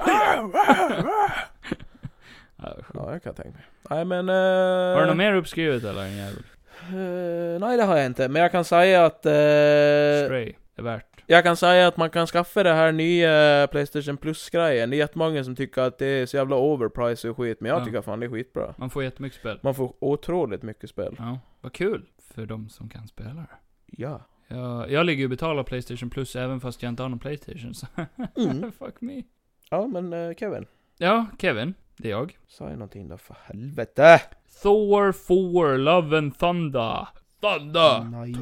Ja, sjukt.
ja, jag kan tänka mig. Nej men... eh,
Har du något mer uppskrivet eller? en jävel?
eh, nej det har jag inte, men jag kan säga att... eh,
Stray. Är värt.
Jag kan säga att man kan skaffa det här nya eh, Playstation Plus-grejen. Det är jättemånga som tycker att det är så jävla overpriced och skit, men jag
Ja.
tycker fan det är skitbra.
Man får jättemycket spel.
Man får otroligt mycket spel.
Ja, vad kul. För de som kan spela det.
Ja.
Jag, jag ligger ju och betalar Playstation Plus även fast jag inte har någon Playstation, så
Mm.
fuck me.
Ja men eh, Kevin,
Ja, Kevin. Det är jag.
säg någonting då för helvete!
Thor 4, Love and Thunder. Thunder!
Nej.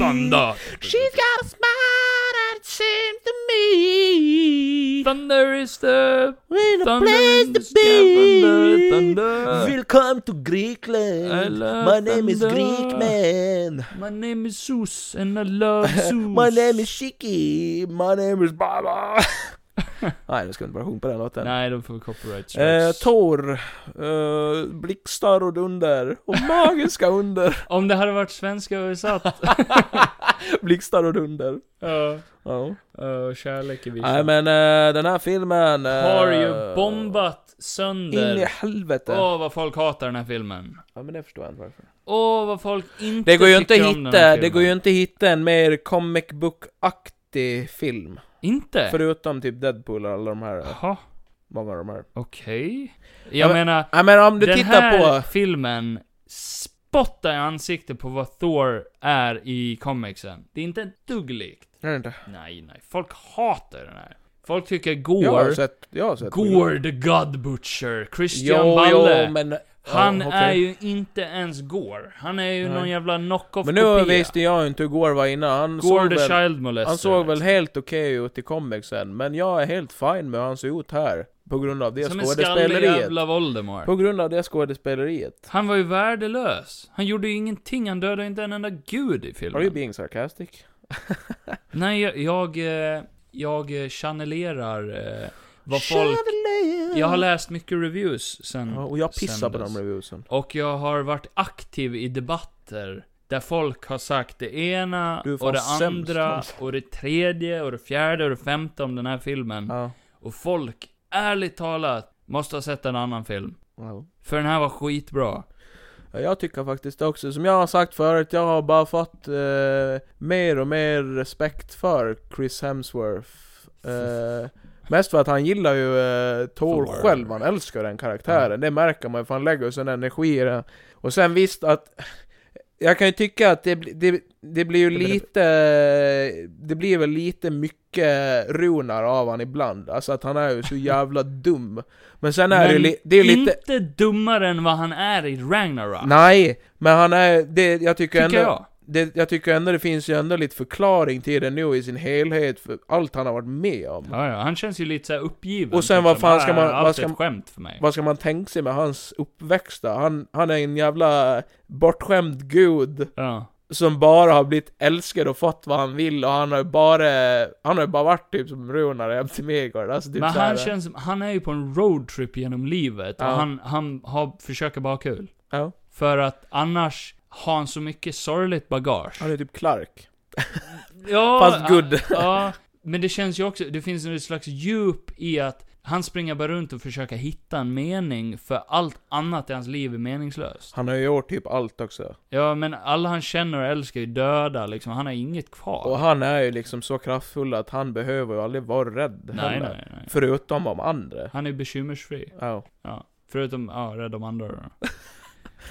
Thunder!
She's got a smile that seems to me
Thunder is the...
We're the
Thunder in
place
the
to
sky, thunder,
be.
thunder.
Welcome to
I
Greekland.
love
My name is
thunder.
Greekman.
My name is Zeus and I love Zeus.
My name is Shiki. My name is Baba.
Nej, nu ska vi inte bara sjunga på den låten.
Nej, de får copyright
Eh,
strikes.
Tor, eh, blixtar och dunder, och magiska under.
Om det hade varit svenska översatt.
blixtar och dunder.
Ja,
Ja.
ja, kärlek i
Nej
visan.
men eh, den här filmen... eh,
Har ju bombat
In i
sönder.
helvete.
Åh, vad folk hatar den här filmen.
Ja men det förstår jag inte varför.
Åh, vad folk inte
Det går ju inte
tycker om den
hitta,
här
det går ju
filmen.
inte hitta en mer comic book-aktig film.
Inte?
Förutom typ Deadpool och alla de här, eh,
Jaha,
många av de här.
okej.
Ja,
Jag
men-
menar,
Nej men om du
den
tittar
här
på...
filmen spottar i ansiktet på vad Thor är i comicsen. Det är inte ett dugg likt.
Är det inte?
Nej, nej. Folk hatar den här. Folk tycker
Jag har
Gore,
sett, jag har sett.
Gore the God Butcher, Christian
Jo,
Balle.
jo men... ja,
Han
okej.
är ju inte ens Gore. Han är ju
Nej.
någon jävla knock-off
Men nu
kopia.
visste jag ju inte hur Gore var innan. Han såg
Gore the
väl,
Child Molester.
han såg väl helt okej ut i comicsen. Men jag är helt fin med hur han ser ut här. På grund av det
Som en skallig
skådespeleriet.
jävla Voldemort.
På grund av det skådespeleriet.
Han var ju värdelös. Han gjorde ju ingenting, han dödade inte en enda gud i
Are you
filmen.
being sarcastic?
Nej, jag, jag, eh, jag eh, channelerar eh, vad folk...
Chandelier.
Jag har läst mycket reviews sen
Ja, och jag pissar
sen
på
dess.
de reviewsen.
Och jag har varit aktiv i debatter där folk har sagt det ena
Du är fan
och det
sämst,
andra
alltså.
och det tredje och det fjärde och det femte om den här filmen.
Ja.
Och folk, ärligt talat, måste ha sett en annan film.
Ja.
För den här var skitbra.
Ja, Jag tycker faktiskt också, som jag har sagt förut, jag har bara fått eh, mer och mer respekt för Chris Hemsworth. Eh, Mest för att han gillar ju eh, Thor
Thor.
själv, han älskar den karaktären. Det märker man ju, för han lägger ju sån energi i den. Och sen visst att... Jag kan ju tycka att det, bli- det, det blir ju lite... Det blir väl lite mycket Runar av han ibland. Alltså att han är ju så jävla dum. Men sen är det
Men
ju li, det är ju lite...
Inte dummare än vad han är i Ragnarok.
Nej, men han är... Det, jag tycker,
tycker
ändå...
jag.
Det, jag tycker ändå det finns ju ändå lite förklaring till det nu i sin helhet, för allt han har varit med om.
Ja, ja, han känns ju lite såhär uppgiven.
Och sen
typ
vad
som,
fan ska
"Ah,
man- vad
Allt
ska
är
man-
ett skämt för mig.
Vad ska man tänka sig med hans uppväxt då? han, han är en jävla bortskämd gud
Ja.
som bara har blivit älskad och fått vad han vill och han har ju bara, han har ju bara varit typ som Runar i Abtimegård. Alltså typ
Men
så här,
han känns som, han är ju på en roadtrip genom livet
Ja.
och han, han har, försöker bara ha kul.
Ja.
För att annars har han så mycket sorgligt bagage.
Han är typ Clark.
Ja,
Fast good.
Ja, men det känns ju också, det finns en slags djup i att han springer bara runt och försöker hitta en mening, för allt annat i hans liv är meningslöst.
Han har ju gjort typ allt också.
Ja, men alla han känner och älskar är döda liksom, han har inget kvar.
Och han är ju liksom så kraftfull att han behöver ju aldrig vara rädd
nej,
heller.
nej, nej.
Förutom om andra.
Han är bekymmersfri.
Ja.
Ja. Förutom, ja, rädd om andra då.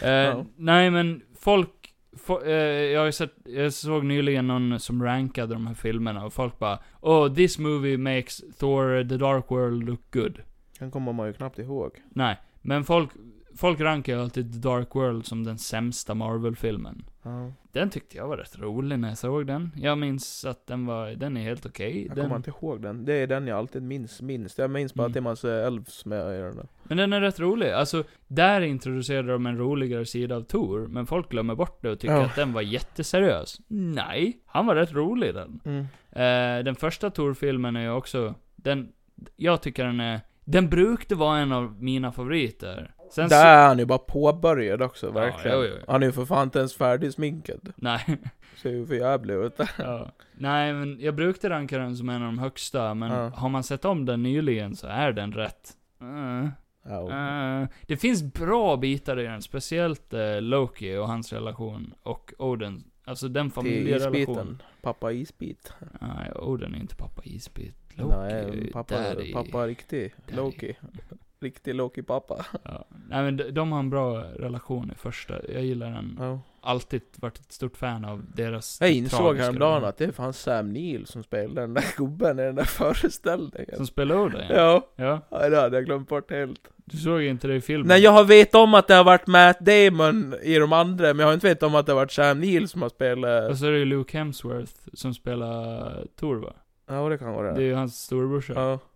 eh,
Ja.
Nej men, folk... fo- eh, jag, har ju sett, jag såg nyligen någon som rankade de här filmerna och folk bara Oh, this movie makes Thor the Dark World look good.
Han kommer man ju knappt ihåg.
Nej, men folk, folk rankar ju alltid The Dark World som den sämsta Marvel-filmen.
Ja.
Den tyckte jag var rätt rolig när jag såg den. Jag minns att den var, den är helt okej.
Jag
Den-
kommer inte ihåg den. Det är den jag alltid minns minst. Jag minns bara
Mm.
att det är massa elves med i den. där.
Men den är rätt rolig. Alltså, där introducerade de en roligare sida av Thor, men folk glömmer bort det och tycker
Ja.
att den var jätteseriös. Nej, han var rätt rolig i den.
Mm.
Eh, den första Thor-filmen är ju också, den, jag tycker den är, den brukade vara en av mina favoriter. Sen
Där
så,
är han ju bara påbörjad också, verkligen.
jo, jo, jo.
Han är ju för fan inte ens färdigsminkad.
nej,
Ser ju för jävlig ut.
ja. nej men jag brukade ranka den som en av de högsta, men
Ja.
har man sett om den nyligen så är den rätt. Eh.
Ja.
Eh, det finns bra bitar i den, speciellt eh, Loki och hans relation och Odin. Alltså den
Till
familjerelationen.
isbiten. Pappa isbit.
Nej, Odin är inte pappa isbit. Loki är ju
Nej, pappa,
daddy.
pappa riktig.
Daddy.
Loki. Riktig Loki-pappa.
Ja. Nej men de, de har en bra relation i första. Jag gillar den.
Ja.
Alltid varit ett stort fan av deras
Jag insåg
tragiska
häromdagen
relation.
att det är fan Sam Neill som spelar den där gubben i den där föreställningen.
Som spelar Odin? Ja.
Ja,
ja.
ja, det hade jag glömt bort helt.
Du såg inte det i filmen?
Nej jag har vet om att det har varit Matt Damon i de andra, men jag har inte vet om att det har varit Sam Neill som har
Och
spelat...
så är det ju Luke Hemsworth som spelar Thor va?
Ja det kan vara
Det är
det.
ju hans storebrorsa.
Ja.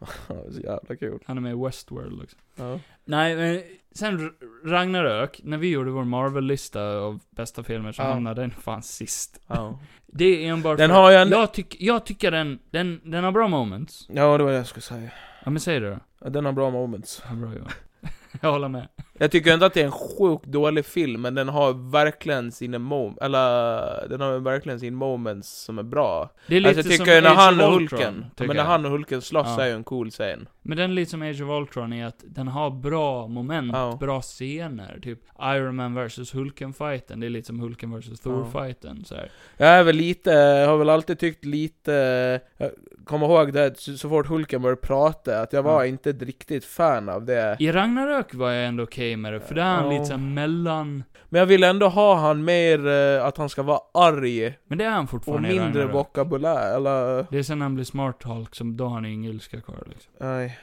Ja, det är så jävla kul.
Han är med i Westworld också.
Ja.
Nej, men sen R- Ragnarök, när vi gjorde vår Marvel-lista av bästa filmer så
Ja.
hamnade den fan sist.
Ja.
Det är enbart
Den
för-
har ju en...
jag, tyck, jag tycker den, den, den har bra moments.
Ja det var det jag skulle säga.
Ja men säg det då.
Ja, Den har bra moments.
Ja, bra Johan. jag håller med.
Jag tycker inte att det är en sjukt dålig film, men den har verkligen sina moments, eller den har verkligen sina moments som är bra.
Det är lite
Alltså jag
som
tycker ju när
Age
han
of
och
Ultron,
Hulken, ja,
tycker
men när
jag.
han och Hulken slåss
Ja.
är ju en cool scen.
Men den är lite som Age of Ultron i att den har bra moment,
Ja.
bra scener. Typ Iron Man vs Hulken-fighten, det är lite som Hulken vs Thor-fighten så här.
Jag är väl lite, jag har väl alltid tyckt lite, jag kommer ihåg det så, så fort Hulken började prata, att jag var inte riktigt fan av det.
I Ragnarök var jag ändå okej med det, för där är han
Ja.
lite såhär mellan...
Men jag vill ändå ha han mer, eh, att han ska vara arg
Men det är han
och
fortfarande i
mindre
Ragnarök.
vokabulär, eller...
Det är sen när han blir smart Hulk som då har han ingen ilska kvar liksom.
Nej.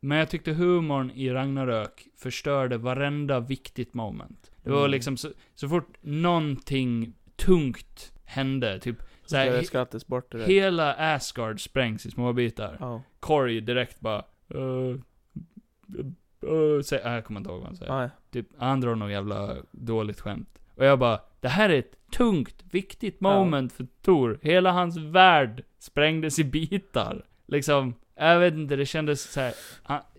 Men jag tyckte humorn i Ragnarök förstörde varenda viktigt moment. Det var
Mm.
liksom så, så fort någonting tungt hände, typ
Så här,
såhär,
det
he,
skrattas bort direkt.
hela Asgard sprängs i små bitar.
Ja.
Corey direkt bara, uh, uh, säg, äh, jag kommer inte ihåg vad han säger.
Nej.
Typ, han drar något jävla dåligt skämt. Och jag bara, det här är ett tungt, viktigt moment för Tor. Hela hans värld sprängdes i bitar. Liksom, jag vet inte, det kändes så här.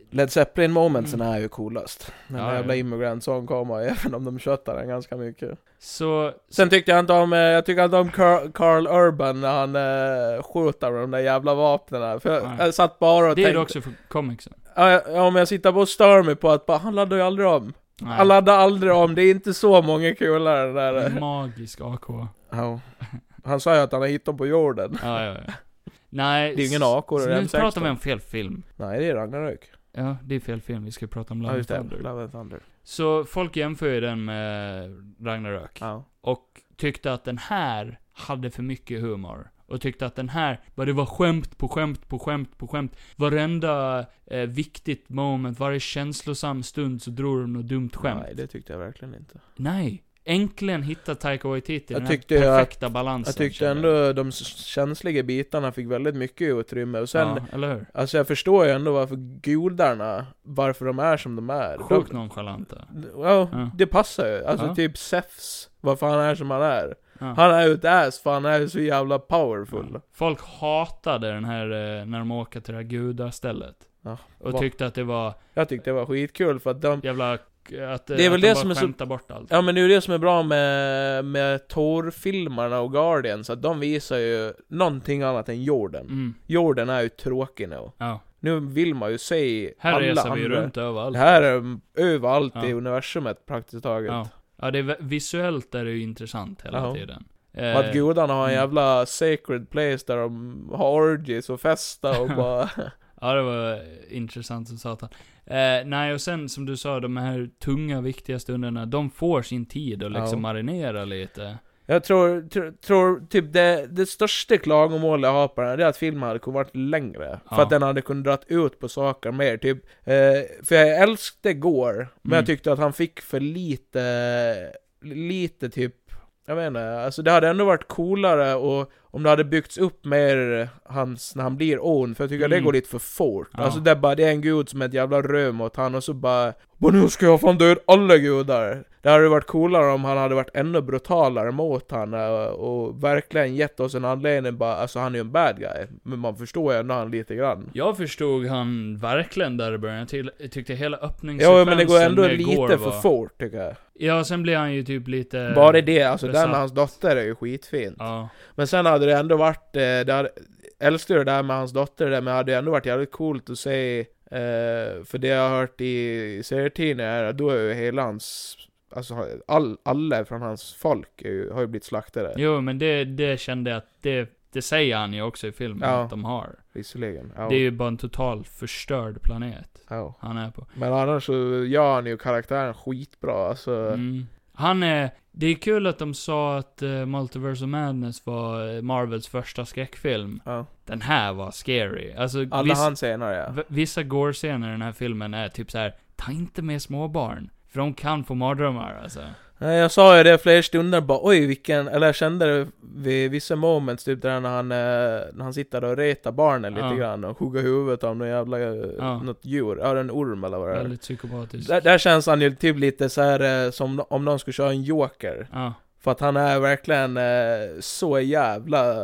Led Zeppelin momentsen är ju coolast. Den
Mm. Ja,
där jävla
ja.
Immigrant Song kommer, även om de köttar den ganska mycket.
Så,
Sen tyckte jag inte om, eh, jag tycker inte om Carl, Carl Urban när han eh, skjuter med de där jävla vapnen. För jag,
Nej.
jag satt bara och
det är det
tänkte...
också för comicsen.
Ja, jag- ja, men jag sitter bara och stör mig på att bara, han laddar ju aldrig om.
Nej, Mm.
Han laddar aldrig om, det är inte så många kulor den där.
Magisk AK. Ja,
Ja. Han sa ju att han har hittat dem på jorden.
ja, ja. Nej.
Det är ju ingen
s-
AK och
så
det
Nu
M16.
pratar vi om fel film.
Nej, det är Ragnarök.
Ja, det är fel film. Vi ska prata om
Ja,
Love
just det.
Thunder.
Love and Thunder.
Så folk jämför ju den med Ragnarök.
Ja.
Och tyckte att den här hade för mycket humor. Och tyckte att den här, bara det var skämt på skämt på skämt på skämt. Varenda eh, viktigt moment, varje känslosam stund så drog de något dumt skämt.
Nej,
Nej.
det tyckte jag verkligen inte.
Äntligen hittar Taika Waititi
Jag
den
tyckte
här
ju att-
perfekta balansen.
Jag tyckte
kände
ändå de s- känsliga bitarna fick väldigt mycket utrymme och sen
Ja, eller hur?
Alltså jag förstår ju ändå varför gudarna, varför de är som de är.
Sjukt nonchalanta.
De, ja,
Ja.
det passar ju. Alltså
Ja.
typ Zeus, varför han är som han är.
Ja.
Han är ju ett ass för han är ju så jävla powerful.
Folk hatade den här eh, när de åker till det här gudastället.
Ja,
och
va-
tyckte att det var
Jag tyckte det var skitkul för att de...
jävla... Att, eh,
Det är väl
att
det
de bara
som är så-
skämtar bort allt.
Ja men det är ju det som är bra med, med Thor-filmerna och Guardians, att de visar ju någonting annat än jorden.
Mm,
Jorden är ju tråkig nu.
ja.
Nu vill man ju se
Här
alla
reser vi ju
andra-
runt överallt.
Det här är överallt i
Ja.
universumet praktiskt taget.
Ja. ja, det är vä- visuellt är det ju intressant hela
Ja.
tiden.
Och att
Eh,
gudarna har en
mm.
jävla sacred place där de har orgies och festar och bara...
ja, det var intressant som satan. Eh, nej, och sen som du sa, de här tunga, viktiga stunderna, de får sin tid att liksom
Ja.
marinera lite.
Jag tror, tr- tror typ det, det största klagomålet jag har på den här, det är att filmen hade kunnat varit längre.
Ja.
För att den hade kunnat dra ut på saker mer, typ. Eh, för jag älskade Gore, men
Mm.
jag tyckte att han fick för lite, lite typ, jag vet inte, alltså det hade ändå varit coolare och om det hade byggts upp mer eh, hans, när han blir on, för jag tycker att
Mm.
det går lite för fort.
Ja.
Alltså det är bara, det är en gud som är ett jävla röm åt han och så bara och nu ska jag fan döda alla gudar! Det hade varit coolare om han hade varit ännu brutalare mot han eh, och verkligen gett oss en anledning bara, alltså han är ju en bad guy, men man förstår ju ändå han lite grann.
Jag förstod han verkligen där i början. Jag till- jag tyckte hela öppningssekvensen
Ja men det går ändå
med
lite
Gore
för
var-
fort tycker jag.
Ja, sen blir han ju typ lite...
Bara det, alltså
besatt.
den och hans dotter är ju skitfin.
Ja.
Men sen hade det ändå varit, eh, det hade, älskar ju det där med hans dotter där, men det hade ju ändå varit jävligt coolt att se, eh, för det jag har hört i serietidningar är att då är ju hela hans, alltså all, alla från hans folk är ju, har ju blivit slaktade.
Jo, men det, det kände jag att det, det säger han ju också i filmen
Ja.
att de har.
Visserligen. Ja.
Det är ju bara en total förstörd planet
ja.
han är på.
Men annars så gör han ju karaktären skitbra, alltså.
Mm. Han är... Det är kul att de sa att uh, Multiverse of Madness var eh, Marvels första skräckfilm.
Ja.
Den här var scary. Alltså,
Alla
viss,
hans scener ja.
v- vissa gore-scener i den här filmen är typ så här: ta inte med småbarn. För de kan få mardrömmar alltså.
Nej, jag sa ju det flera stunder bara oj vilken, eller jag kände det vid vissa moments typ där när han, eh, när han sitter och retar barnen lite
Ja.
grann och hugger huvudet av någon jävla, eh,
Ja.
något djur, ja en orm eller vad det är.
Väldigt psykopatiskt.
Där, där känns han ju typ lite så här eh, som om någon skulle köra en joker.
Ja.
För att han är verkligen eh, så jävla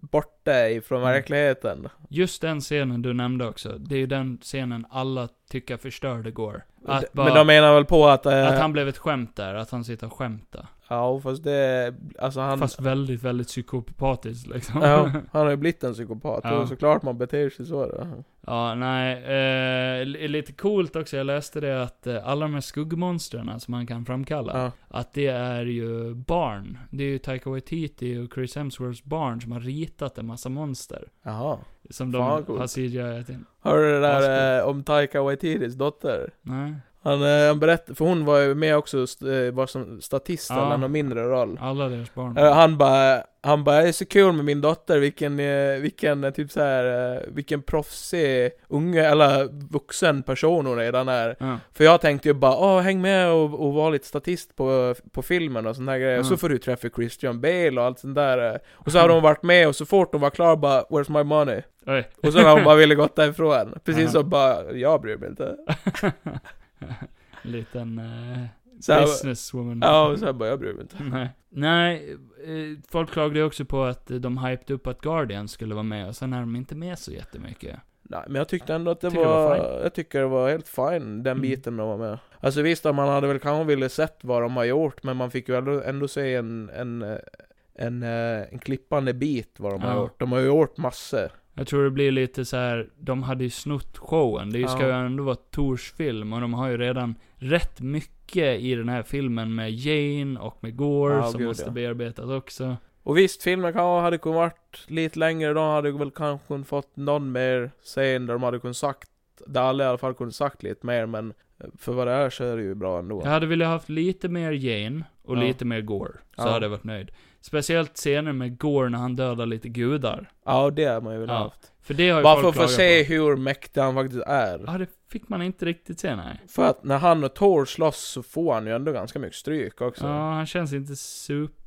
borta ifrån
Mm.
verkligheten.
Just den scenen du nämnde också, det är ju den scenen alla tycker förstörde går.
D-
Att, bara,
Men de menar väl på att... eh,
att han blev ett skämt där, att han sitter och skämtar.
Ja, fast det... Alltså han...
Fast väldigt, väldigt psykopatiskt liksom.
Ja, han har ju blivit en psykopat.
Ja.
Och såklart man beter sig så då.
Ja, nej. Eh, li- lite coolt också, jag läste det att eh, alla de här skuggmonstren som man kan framkalla,
Ja.
att det är ju barn. Det är ju Taika Waititi och Chris Hemsworths barn som har ritat en massa monster.
Jaha.
Som
Fan,
de
vad coolt.
har cgi in.
Hörde du det där
Aspen.
eh, om Taika Waititis dotter?
Nej.
Han, eh, han berättade, för hon var ju med också, st- eh, var som statist
Ja.
eller någon mindre roll.
Alla deras barn.
Eh, Han bara, han bara, det är så kul med min dotter, vilken, eh, vilken eh, typ så här, eh, vilken proffsig unge, eller vuxen person hon redan är.
Ja.
För jag tänkte ju bara, åh häng med och, och var lite statist på, på filmen och sån där grejer. Och så
Mm.
får du träffa Christian Bale och allt sånt där. eh. Och så hade hon varit med och så fort hon var klar bara, where's my money?
Oj.
Och sen har hon bara ville gått därifrån. Precis
Ja.
som bara, jag bryr mig inte.
Liten eh,
Så här,
businesswoman.
ja, och sen bara, jag bryr mig inte.
Nej. Nej, eh, folk klagade ju också på att eh, de hypade upp att Guardian skulle vara med och sen är de inte med så jättemycket.
Nej, men jag tyckte ändå att det
Tycker det var
var, jag tycker det var helt fine, den
Mm.
biten med att vara med. Alltså visst, man hade väl kanske ville sett vad de har gjort, men man fick ju ändå, ändå se en, en, eh, en, eh, en klippande bit vad de
Ja.
har gjort. De har ju gjort massor.
Jag tror det blir lite så här. de hade ju snott showen. Det ska ju
Ja.
ändå vara Tors film och de har ju redan rätt mycket i den här filmen med Jane och med Gore
Ja,
som
gud,
måste
ja.
bearbetas också.
Och visst, filmen kan, hade kunnat varit lite längre, de hade väl kanske fått någon mer scen där de hade kunnat sagt, där alla i alla fall kunde sagt lite mer, men för vad det är så är det ju bra ändå.
Jag hade velat haft lite mer Jane och
Ja.
lite mer Gore. Så
Ja.
hade jag varit nöjd. Speciellt scener med Gore när han dödar lite gudar.
Ja, det hade man ju velat
Ja,
haft.
För det har ju
Bara för
folk
att
klagat
få se
på.
hur mäktig han faktiskt är.
Ja, det fick man inte riktigt se, nej.
För att när han och Thor slåss så får han ju ändå ganska mycket stryk också.
Ja, han känns inte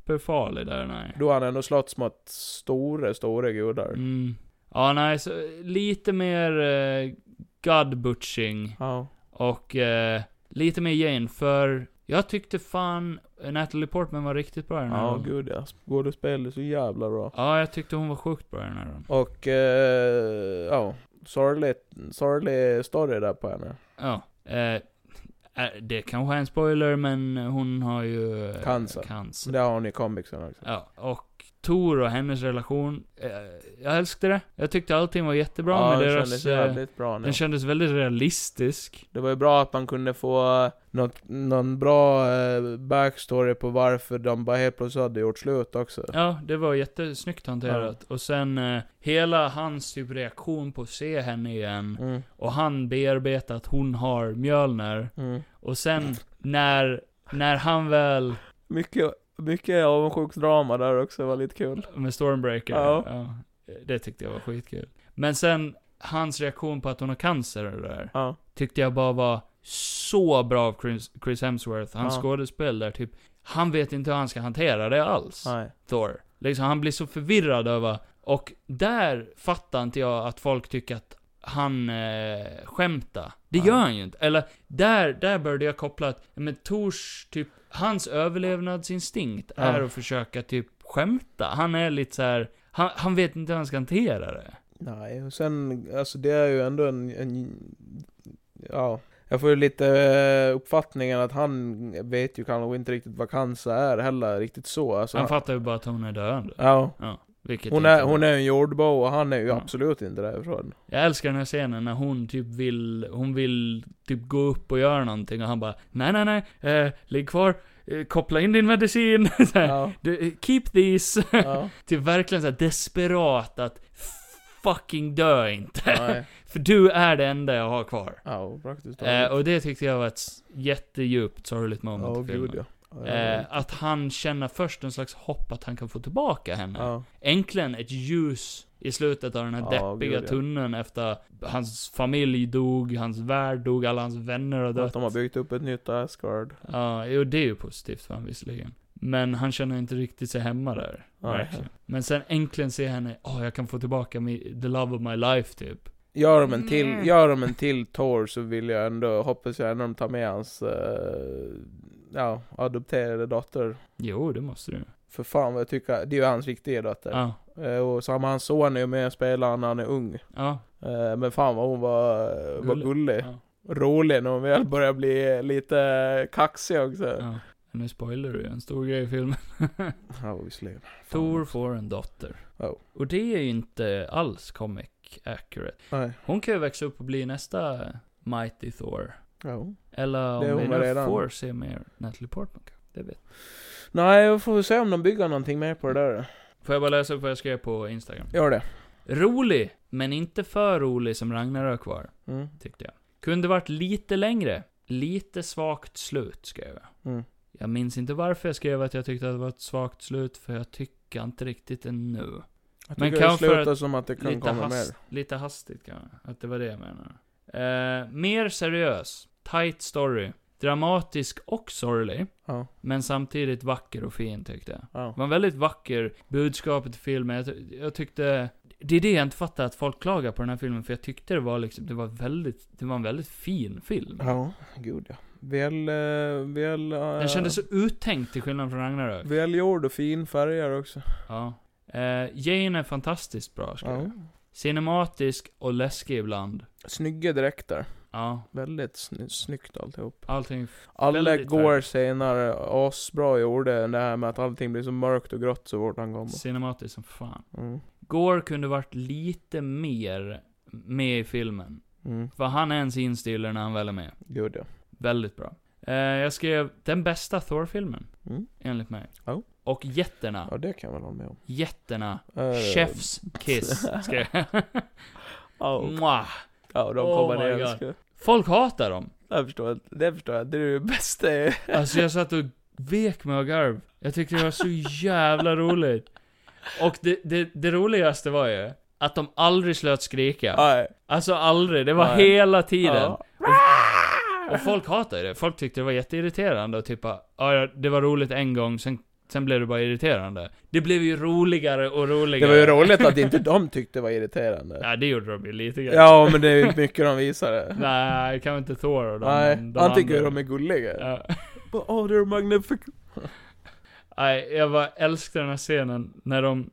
superfarlig där, nej.
Då har han ändå slåtts mot stora, stora gudar.
Mm. Ja, nej, så lite mer eh, God butching.
Ja.
Och eh, lite mer Jane, för jag tyckte fan Natalie Portman var riktigt bra i den här
Ja,
rollen.
gud ja. Skådespel är så jävla bra.
Ja, jag tyckte hon var sjukt bra i den här rollen.
Och, eh, ja. Sorgligt, sorglig story där på henne.
Ja. Eh, eh, det kanske är en spoiler, men hon har ju... eh,
Cancer.
cancer.
Det har hon i comicsen också.
Ja, och Tor och hennes relation. Eh, jag älskade det. Jag tyckte allting var jättebra
ja,
med
det
deras...
kändes
eh,
jävligt bra nu.
den kändes väldigt realistisk.
Det var ju bra att man kunde få eh, något, någon bra eh, backstory på varför de bara helt plötsligt hade gjort slut också.
Ja, det var jättesnyggt hanterat. Och sen eh, hela hans typ reaktion på att se henne igen.
Mm,
Och han bearbetar att hon har Mjölner.
mm.
Och sen när, när han väl
Mycket, mycket avundsjuksdrama där också, var lite kul.
med Stormbreaker.
Ja.
Ja, det tyckte jag var skitkul. Men sen hans reaktion på att hon har cancer och det där.
Ja.
Tyckte jag bara var så bra av Chris, Chris Hemsworth. Hans
Ja.
skådespel där typ. Han vet inte hur han ska hantera det alls.
Nej.
Thor. Liksom han blir så förvirrad över. Och där fattar inte jag att folk tycker att han eh, skämtar. Det
Nej.
gör han ju inte. Eller, där, där började jag koppla att, men Tors, typ, hans överlevnadsinstinkt
Ja.
är att försöka typ skämta. Han är lite så här. Han, han vet inte hur han ska hantera det.
Nej, och sen, alltså det är ju ändå en, en ja. Jag får ju lite eh, uppfattningen att han vet ju kanske inte riktigt vad cancer är heller, riktigt så. Alltså,
Han fattar ju bara att hon är döende.
Ja.
Vilket
Hon
inte
är,
bra.
hon är en jordbo och han är ju
Ja.
absolut inte därifrån.
Jag älskar den här scenen när hon typ vill, hon vill typ gå upp och göra någonting och han bara Nej nej nej, eh, ligg kvar, eh, koppla in din medicin. så här,
Ja,
"Du, eh, Keep these.
ja,
typ verkligen såhär desperat att fucking dö inte.
nej,
För du är det enda jag har kvar.
ja, praktiskt
Eh,
taget.
och det tyckte jag var ett s- jättedjupt sorgligt moment
Ja,
i filmen.
gud ja. Ja,
Eh, att han känner först en slags hopp att han kan få tillbaka henne
Ja,
äntligen ett ljus i slutet av den här
Ja,
deppiga
gud, ja.
tunneln efter hans familj dog, hans värld dog, alla hans vänner har
att
dött.
de har byggt upp ett nytt Asgard.
Ja, jo det är ju positivt för honom visserligen. Men han känner inte riktigt sig hemma där.
Nej.
verkligen. Men sen äntligen ser henne, åh jag kan få tillbaka mi- the love of my life typ.
Gör de en till, gör de en till Thor så vill jag ändå, hoppas jag ändå de tar med hans, eh, ja, adopterade dotter.
Jo, det måste du.
För fan vad jag tycker, det är ju hans riktiga dotter.
Ja.
Eh, och samma hans son är ju med och spelar när han är ung.
Ja.
Eh, men fan vad hon var, gullig. var
Gullig.
gullig.
Ja.
Rolig när hon väl börjar bli lite kaxig också.
ja. Nu spoiler du ju en stor grej i filmen.
Ja, visserligen. Fan.
Thor får en dotter.
Oh.
Och det är ju inte alls comic accurate.
Nej.
Hon kan ju växa upp och bli nästa Mighty Thor.
Ja.
Eller
Det är
om vi
hon väl
nu
redan.
får se mer Natalie Portman kanske. Det vet jag.
Nej, vi får se om de bygger någonting mer på det där.
Får jag bara läsa upp vad jag skrev på Instagram?
Gör det.
Rolig, men inte för rolig som Ragnarök var,
Mm.
tyckte jag. Kunde varit lite längre. Lite svagt slut, skrev jag.
Mm.
Jag minns inte varför jag skrev att jag tyckte att det var ett svagt slut, för jag tycker inte riktigt ännu.
Jag
Men
tycker det
kan för att-
slutar som att det kan
Lite,
komma
hast,
mer.
lite hastigt kanske. Att det var det jag menade. Eh, mer seriös. Tight story. Dramatisk och sorglig.
Ja.
Men samtidigt vacker och fin tyckte jag.
Ja.
Det var en väldigt vacker budskapet i filmen. Jag, ty- jag tyckte... Det är det jag inte fattar, att folk klagar på den här filmen. För jag tyckte det var liksom, det var väldigt, det var en väldigt fin film.
Ja, gud ja. Väl, eh, väl... eh,
Den kändes så uttänkt till skillnad från Ragnarök.
Välgjord och fin färger också.
Ja. Eh, Jane är fantastiskt bra, skulle
Ja.
jag. Cinematisk och läskig ibland.
Snygga dräkter.
Ja,
Väldigt sny snyggt alltihop.
allting
Alla
Väldigt
går
färgglatt.
senare asbra gjorde det här med att allting blir så mörkt och grått så fort han kommer.
Cinematiskt som fan.
Mm.
Gore kunde varit lite mer med i filmen.
Mm.
För han är en sinstiller när han väl är med.
Gud ja.
Väldigt bra. Eh, jag skrev den bästa Thor-filmen,
Mm.
enligt mig.
Ja.
Och jätterna.
Ja, det kan jag väl hålla med om.
Jätterna.
Eh,
Chefs kiss, skrev jag.
Ja,
Mwah.
Mm. ja, de
Oh
kommer
my
ner.
God.
Jag ska-
Folk hatar dem.
Det förstår jag. Det förstår jag. Det är det bästa.
Alltså jag satt och vek mig av garv. Jag tyckte det var så jävla roligt. Och det, det, det roligaste var ju att de aldrig slöt skrika.
Nej.
Alltså aldrig, det var
Nej.
hela tiden.
Ja.
Och folk hatade det. Folk tyckte det var jätteirriterande och typ bara, "Ja, ja, det var roligt en gång, sen, sen blev det bara irriterande. Det blev ju roligare och
Det
roligare.
var ju roligt att inte de tyckte det var irriterande.
Ja, det gjorde de ju lite grann.
Ja, men det är ju inte mycket de visar det.
Nej, kanske inte Thor och de,
Nej,
de
han tycker ju
andra.
de är gulliga.
Ja.
Åh, oh, they're magnificent.
Nej, jag bara älskar den här scenen när de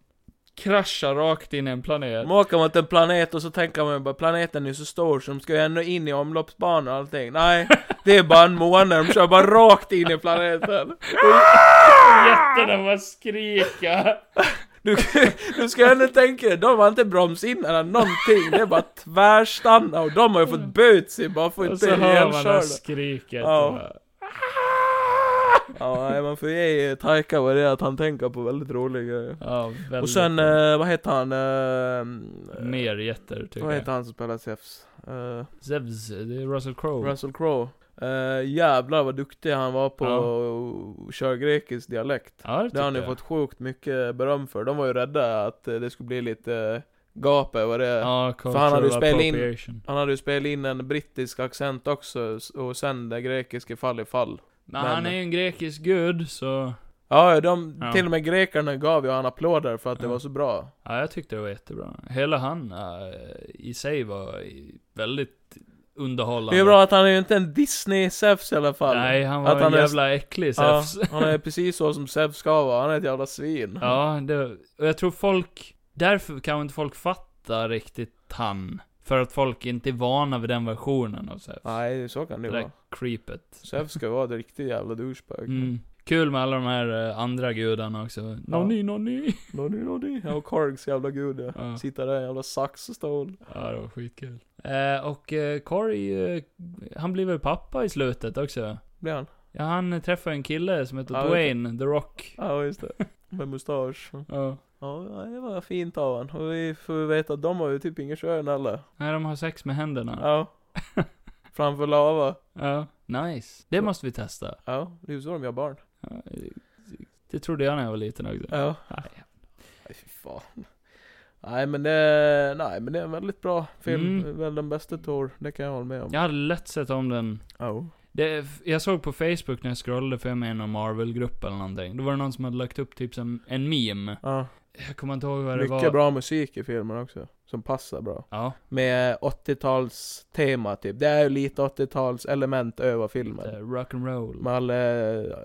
kraschar rakt in i en planet.
De åker mot en planet och så tänker man ju bara planeten är ju så stor så de ska ju ändå in i omloppsbanan och allting. Nej, det är bara en måne. De kör bara rakt in i planeten.
Jätterna bara skrika.
Du, du ska ju ändå tänka dig, de har inte bromsinnar eller någonting. Det är bara tvärstanna och de har ju fått bötsi bara för
Och
att
så
inte
hör man det här
ihjälkörda.
skriket.
Ja.
Och bara,
Ja, nej, man får ge Taika vad det är att han tänker på väldigt roliga grejer.
ja, väldigt.
Och sen, eh, vad heter han? Eh,
Mer jätter, tycker
vad heter
jag.
han som spelar Zeus? Eh,
Zevs, det är Russell Crowe.
Russell Crowe. Eh, jävlar vad duktig han var på
Ja.
att köra grekisk dialekt.
ja, det
Det har han ju
tycker jag.
fått sjukt mycket beröm för. De var ju rädda att eh, det skulle bli lite gap över det.
Ja,
För han hade ju
cultural
spelat in-
appropriation.
Han hade ju spelat in en brittisk accent också, s- och sen det grekiska fall i fall.
Men,
Men-
han är ju en grekisk gud, så...
Ja, de,
Ja.
till och med grekerna gav ju han applåder för att det
Ja.
var så bra.
Ja, jag tyckte det var jättebra. Hela han eh, i sig var i- väldigt underhållande.
Det är bra att han är ju inte en Disney-Zeus i alla fall.
Nej, han var
Att han
en
är-
jävla äcklig
ja,
Zeus.
han är precis så som Zeus ska vara, han är ett jävla svin.
Ja, det, och jag tror folk, därför kan inte folk fatta riktigt han. För att folk inte är vana vid den versionen av Zeus.
Nej, så kan
det
det ju
där
vara.
creepet.
Zeus ska vara ett riktigt jävla douchebag.
Mm. Kul med alla de här eh, andra gudarna också. Nonni, nonni.
Nonny, nonny. Ja, och Korgs jävla gud ja.
Ja.
Sitta där i en jävla saxstol.
Ja, det var skitkul. Eh, och eh, Corey, eh, han blir väl pappa i slutet också?
Blir han?
Ja, han träffar en kille som heter
Ja,
Dwayne, The Rock.
Ja, just det. Med mustasch.
Ja.
Ja, ja, det var fint av han. Och vi får ju veta att de har ju typ ingen kön heller.
Nej, de har sex med händerna.
Ja. Framför lava.
Ja. Nice. Det måste vi testa.
Ja, det är ju så de gör barn.
Ja, det trodde jag när jag var liten också.
Ja.
Nej.
Nej, fy fan. Nej men, det, nej men det är en väldigt bra film.
Mm.
Väl den bästa Thor, det kan jag hålla med om.
Jag hade lätt sett om den.
Oh.
Det, jag såg på Facebook när jag scrollade, för jag är med i någon Marvel-grupp eller någonting. Då var det någon som hade lagt upp typ som en meme.
Ja.
Jag kommer inte ihåg vad det
Mycket
var.
bra musik i filmen också. Som passar bra.
Ja,
Med 80-tals tema typ. Det är ju lite 80-tals element över
lite
filmen.
Eh, rock'n'roll.
Med alla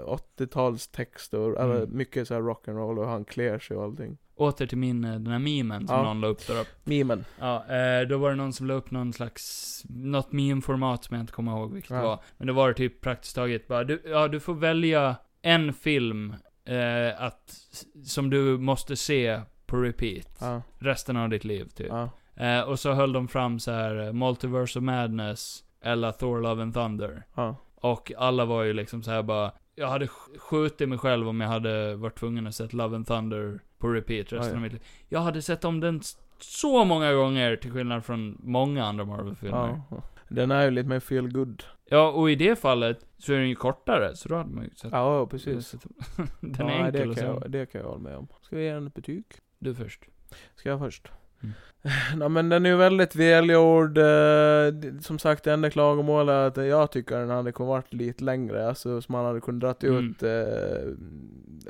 80-tals texter, eller
Mm.
mycket så här rock'n'roll och han klär sig och allting.
Åter till min, eh, den här memen som
Ja.
någon la upp där uppe.
Memen.
Ja, eh, då var det någon som la upp någon slags, något meme-format som jag inte kommer ihåg vilket
Ja.
det var. Men det var det typ praktiskt taget bara, du, ja du får välja en film eh, att, som du måste se på repeat.
Ja,
Resten av ditt liv typ.
ja.
Eh, och så höll de fram så här eh, Multiverse of Madness eller Thor Love and Thunder.
Ja.
Och alla var ju liksom så här bara, jag hade sk- skjutit mig själv om jag hade varit tvungen att sett Love and Thunder på repeat resten
Ja, ja.
av mitt liv. Jag hade sett om den s- så många gånger till skillnad från många andra Marvel-filmer. Ja.
ja. Den är ju lite mer feel good.
och i det fallet så är den ju kortare, så då hade man ju sett.
Ja, precis.
Den
ja,
är enkel
det
och
kan,
så.
jag, det kan jag hålla med om. Ska vi ge den ett betyg?
Du först.
Ska jag först?
Mm.
Nej men den är ju väldigt välgjord. eh, d- Som sagt, det enda klagomålet är att jag tycker den hade kunnat varit lite längre. Alltså som man hade kunnat dra ut eh,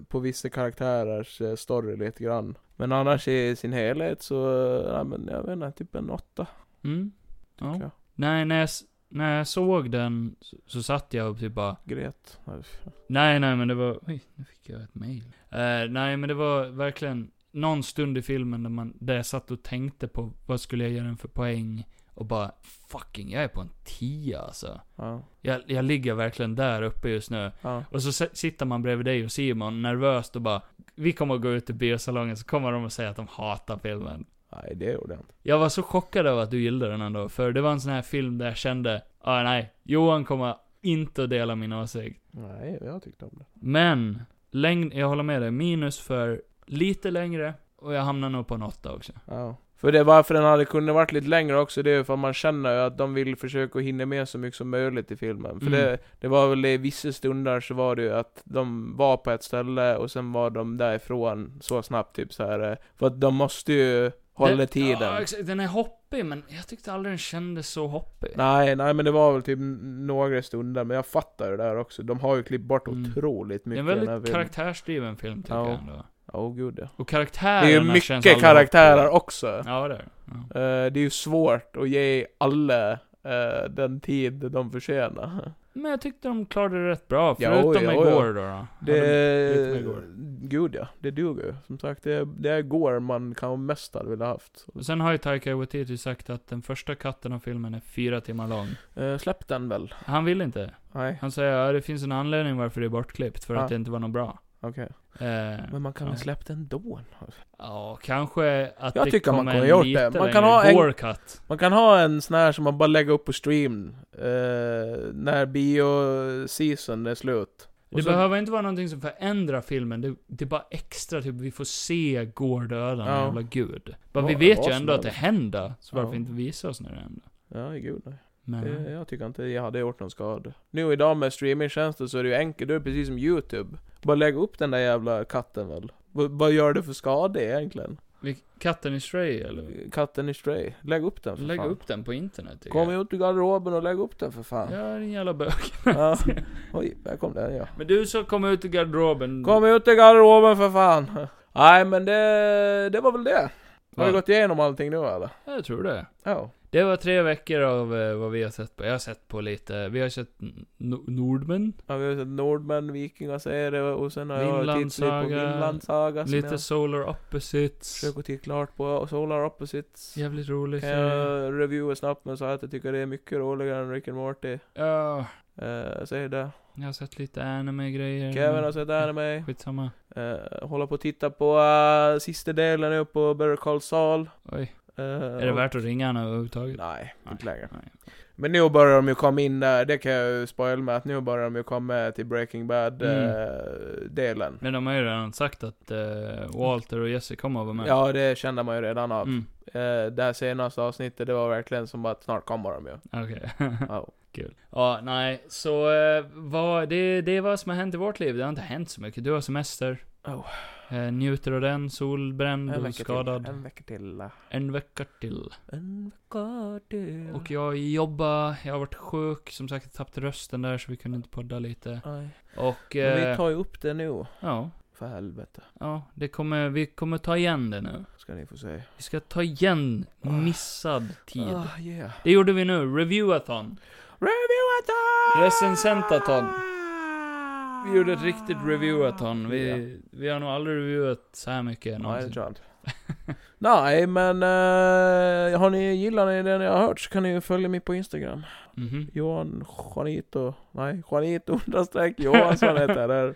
på vissa karaktärers eh, story lite grann. Men annars i sin helhet så, eh, nej men jag vet inte, typ en åtta.
Mm.
tycker
Ja.
jag.
Nej, när jag, s- när jag såg den så, så satt jag och typ bara,
Gret. Nej, f-
Nej, nej, men det var... Oj, nu fick jag ett mail. Eh, nej, men det var verkligen någon stund i filmen där, man, där jag satt och tänkte på vad skulle jag ge den för poäng. Och bara, fucking, jag är på en 10 alltså.
Ja,
Jag, jag ligger verkligen där uppe just nu.
ja.
Och så s- sitter man bredvid dig och Simon nervöst och bara, vi kommer att gå ut i biosalongen så kommer de att säga att de hatar filmen.
Nej det gjorde jag inte.
Jag var så chockad över att du gillade den ändå, för det var en sån här film där jag kände, ah, nej, Johan kommer inte att dela min åsikt.
Nej, jag tyckte om det.
Men, längd, jag håller med dig. Minus för lite längre. Och jag hamnar nog på en åtta också.
Ja. För det varför den hade kunnat varit lite längre också, det är ju för att man känner ju att de vill försöka hinna med så mycket som möjligt i filmen. För
Mm.
det, det var väl i vissa stunder så var det ju att de var på ett ställe och sen var de därifrån så snabbt typ så här. eh, För att de måste ju hålla
Den-
tiden.
Ja, exakt. den är hoppig, men jag tyckte aldrig den kändes så hoppig.
Nej, nej men det var väl typ n- några stunder, men jag fattar det där också. De har ju klippt bort
Mm.
otroligt
det är
mycket
en
i den här
väldigt
filmen.
karaktärsdriven film tycker
Ja.
jag ändå.
Ja, oh, gud ja.
Och
Det
karaktärerna
är ju
känns
mycket
aldrig
karaktärer
hoppiga.
också.
Ja, det är det. ja.
Eh, det är ju svårt att ge alla eh, den tid de förtjänar.
Men jag tyckte de klarade det rätt bra,
Ja,
förutom
ja, ja.
igår då. då.
Det...
Hade- lite mer går.
Gud ja, det duger ju. Som sagt, det, det är går man kan mest hade velat haft.
Och sen har ju Taika Waititi sagt att den första katten av filmen är fyra timmar lång.
Eh, släpp den väl?
Han vill inte.
Nej,
Han säger att det finns en anledning varför det är bortklippt, för
Ja.
att det inte var något bra.
okej.
Eh,
Men man kan
Ja.
väl släppa den då?
ja, kanske att
Jag
det
tycker man
kommer
kunde
en
gjort
lite
det. Man
längre
kan ha en-
gore cut.
Man kan ha en sån här som man bara lägger upp på stream eh, när bio-season är slut.
Det
så-
behöver inte vara någonting som förändrar filmen, det, det är bara extra typ, vi får se Gore döda,
Ja.
ja. jävla gud. Men
Ja,
vi
det
vet
var
ju
så
ändå att det
där.
händer, så varför
Ja.
inte visa oss när det händer?
Ja, gud nej.
Men,
Det, Eh, jag tycker inte jag hade gjort någon skada. Nu idag med streamingtjänster så är det ju enkelt, det är precis som YouTube. Bara lägga upp den där jävla katten väl. V- vad gör det för skada egentligen?
vi- katten i Stray eller?
Katten i Stray. Lägg upp den för
Lägg
fan.
upp den på internet tycker
Kom
jag.
ut ur garderoben och lägg upp den för fan. Ja.
Ja, din jävla bög.
Oj, där kom den ja.
Men du som kom ut ur garderoben.
Kom ut ur garderoben för fan. Nej men det, det var väl det. Har vi
Ja.
gått igenom allting nu eller?
Jag tror det.
Ja.
Det var tre veckor av eh, vad vi har sett på. Jag har sett på lite, vi har sett no Nordmän,
Ja, vi har sett Nordmän, Vikingaserier och sen har jag tittat på
Vinlandsaga,
Vinlandsaga. som
lite
jag-
Solar Opposites.
Försöker titta klart på Solar Opposites.
Jävligt rolig
Kan
serie.
jag reviewa snabbt men säga att jag tycker det är mycket roligare än Rick and Morty.
Ja,
Uh, säger det.
jag har sett lite anime-grejer.
Kevin har sett anime.
Skitsamma.
Uh, håller på att titta på eh, sista delen nu på Better Call Saul.
Oj.
Eh,
Är det värt att ringa henne överhuvudtaget?
Nej, inte längre.
Nej.
Men nu börjar de ju komma in där, det kan jag ju spoila med att nu börjar de ju komma till Breaking
Mm.
eh, Bad-delen.
Men de har ju redan sagt att eh, Walter och Jesse kommer att vara med.
ja, det kände man ju redan av.
Mm,
Eh, det här senaste avsnittet, det var verkligen som att snart kommer de ju.
okej.
Ja.
Kul. Ja, nej. Så, eh, vad, det, det är vad som har hänt i vårt liv. Det har inte hänt så mycket. Du har semester.
Oh.
Eh, njuter av den. Solbränd
En
och
vecka
skadad.
till. En vecka till. eh.
En vecka till.
En vecka till.
Och jag jobbar, jag har varit sjuk, som sagt jag tappade rösten där så vi kunde inte podda lite.
Nej.
Och,
Men vi
eh,
tar ju upp det nu.
ja,
För helvete.
ja, det kommer, vi kommer ta igen det nu.
Ska ni få se.
Vi ska ta igen missad tid.
Ah, yeah.
Det gjorde vi nu, reviewathon.
Reviewathon!
Recensentathon. Vi gjorde ett riktigt reviewathon. Vi, vi har nog aldrig reviewat så här mycket
Nej, det
någonsin.
tror jag inte. Nej, men eh, har ni, gillar ni det ni har hört så kan ni ju följa mig på Instagram.
Mhm.
Johan Juanito, nej Juanito understreck Johansson heter jag där.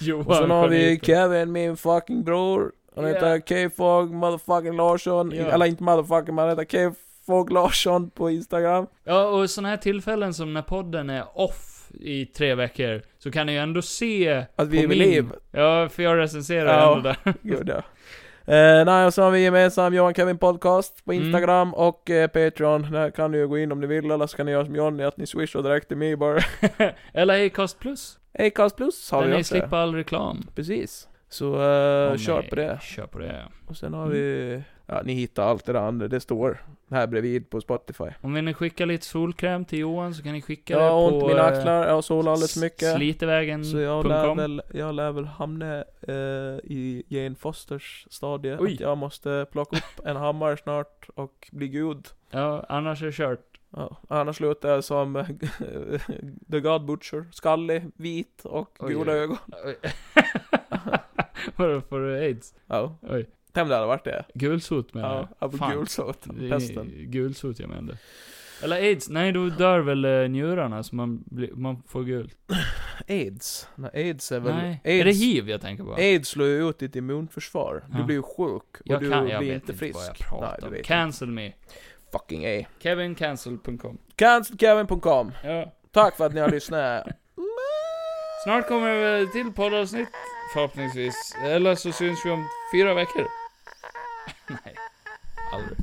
Johan
Och sen har vi
Juanito.
Kevin, min fucking bror. Han heter K-Fog motherfucking Larsson.
Ja.
Eller inte motherfucking, men han heter K-Fog Larsson på Instagram.
Ja, och sådana här tillfällen som när podden är off i tre veckor, så kan ni ju ändå se
Att vi
på
är vid
min-
liv.
Ja, för jag recenserar
Ja.
ändå där.
Gud ja. Eh, nej, och så har vi gemensam Johan Kevin Podcast på
Mm.
Instagram och eh, Patreon. Där kan ni ju gå in om ni vill, eller så kan ni göra som Johnny, att ni swishar direkt till mig bara.
Eller Acast plus.
Acast plus har
Där
vi
ni
också.
slipper all reklam.
Precis. Så eh,
Åh,
kör
nej, Mm.
på det.
Kör på det, ja.
Och sen har vi, ja ni hittar allt det där andra, det står här bredvid på Spotify.
Om vill ni skicka lite solkräm till Johan så kan ni skicka
Jag har
det
ont
på...
i mina
eh,
axlar, jag har sol alldeles för mycket. Så jag lär,
Slitevägen.com
väl, jag lär väl hamna eh, i Jane Fosters stadie.
Oj.
Att jag måste plocka upp en hammare snart och bli gud.
Ja, annars är det kört.
Ja, annars slutar jag som eh, The God Butcher. Skallig, vit och
Oj,
gula
oj, oj.
ögon.
Oj. Vadå, får du aids?
Ja.
Oj.
Tänk om det hade varit det.
Gulsot menar
Ja,
jag.
jag
Fan.
får gulsot.
Det är
Pesten.
Gulsot jag menar. Eller aids, nej då dör väl eh, njurarna så man, blir, man får gult.
Aids? Nej, aids är väl...
Nej.
AIDS,
Är det hiv jag tänker på?
Aids slår ju ut ditt immunförsvar. Du
Ja.
blir ju sjuk och
jag
du
kan,
blir
jag vet
inte frisk.
vad jag pratar
Nej, du
om.
vet
Cancel me.
inte. Fucking A.
Kevincancel.com
Cancelkevin.com
Ja.
Tack för att ni har lyssnat.
Snart kommer det ett till poddavsnitt, förhoppningsvis. Eller så syns vi om fyra veckor. Nej, aldrig.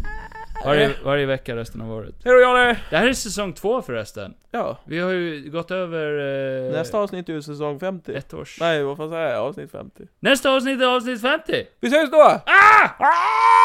Varje, varje vecka resten av året.
Hej då Johnny!
Det här är säsong två förresten.
Ja,
Vi har ju gått över... Eh,
nästa avsnitt är ju säsong 50.
Ett års.
Nej, vad fan säger jag? Avsnitt 50.
Nästa avsnitt är avsnitt 50!
Vi ses då!
Ah!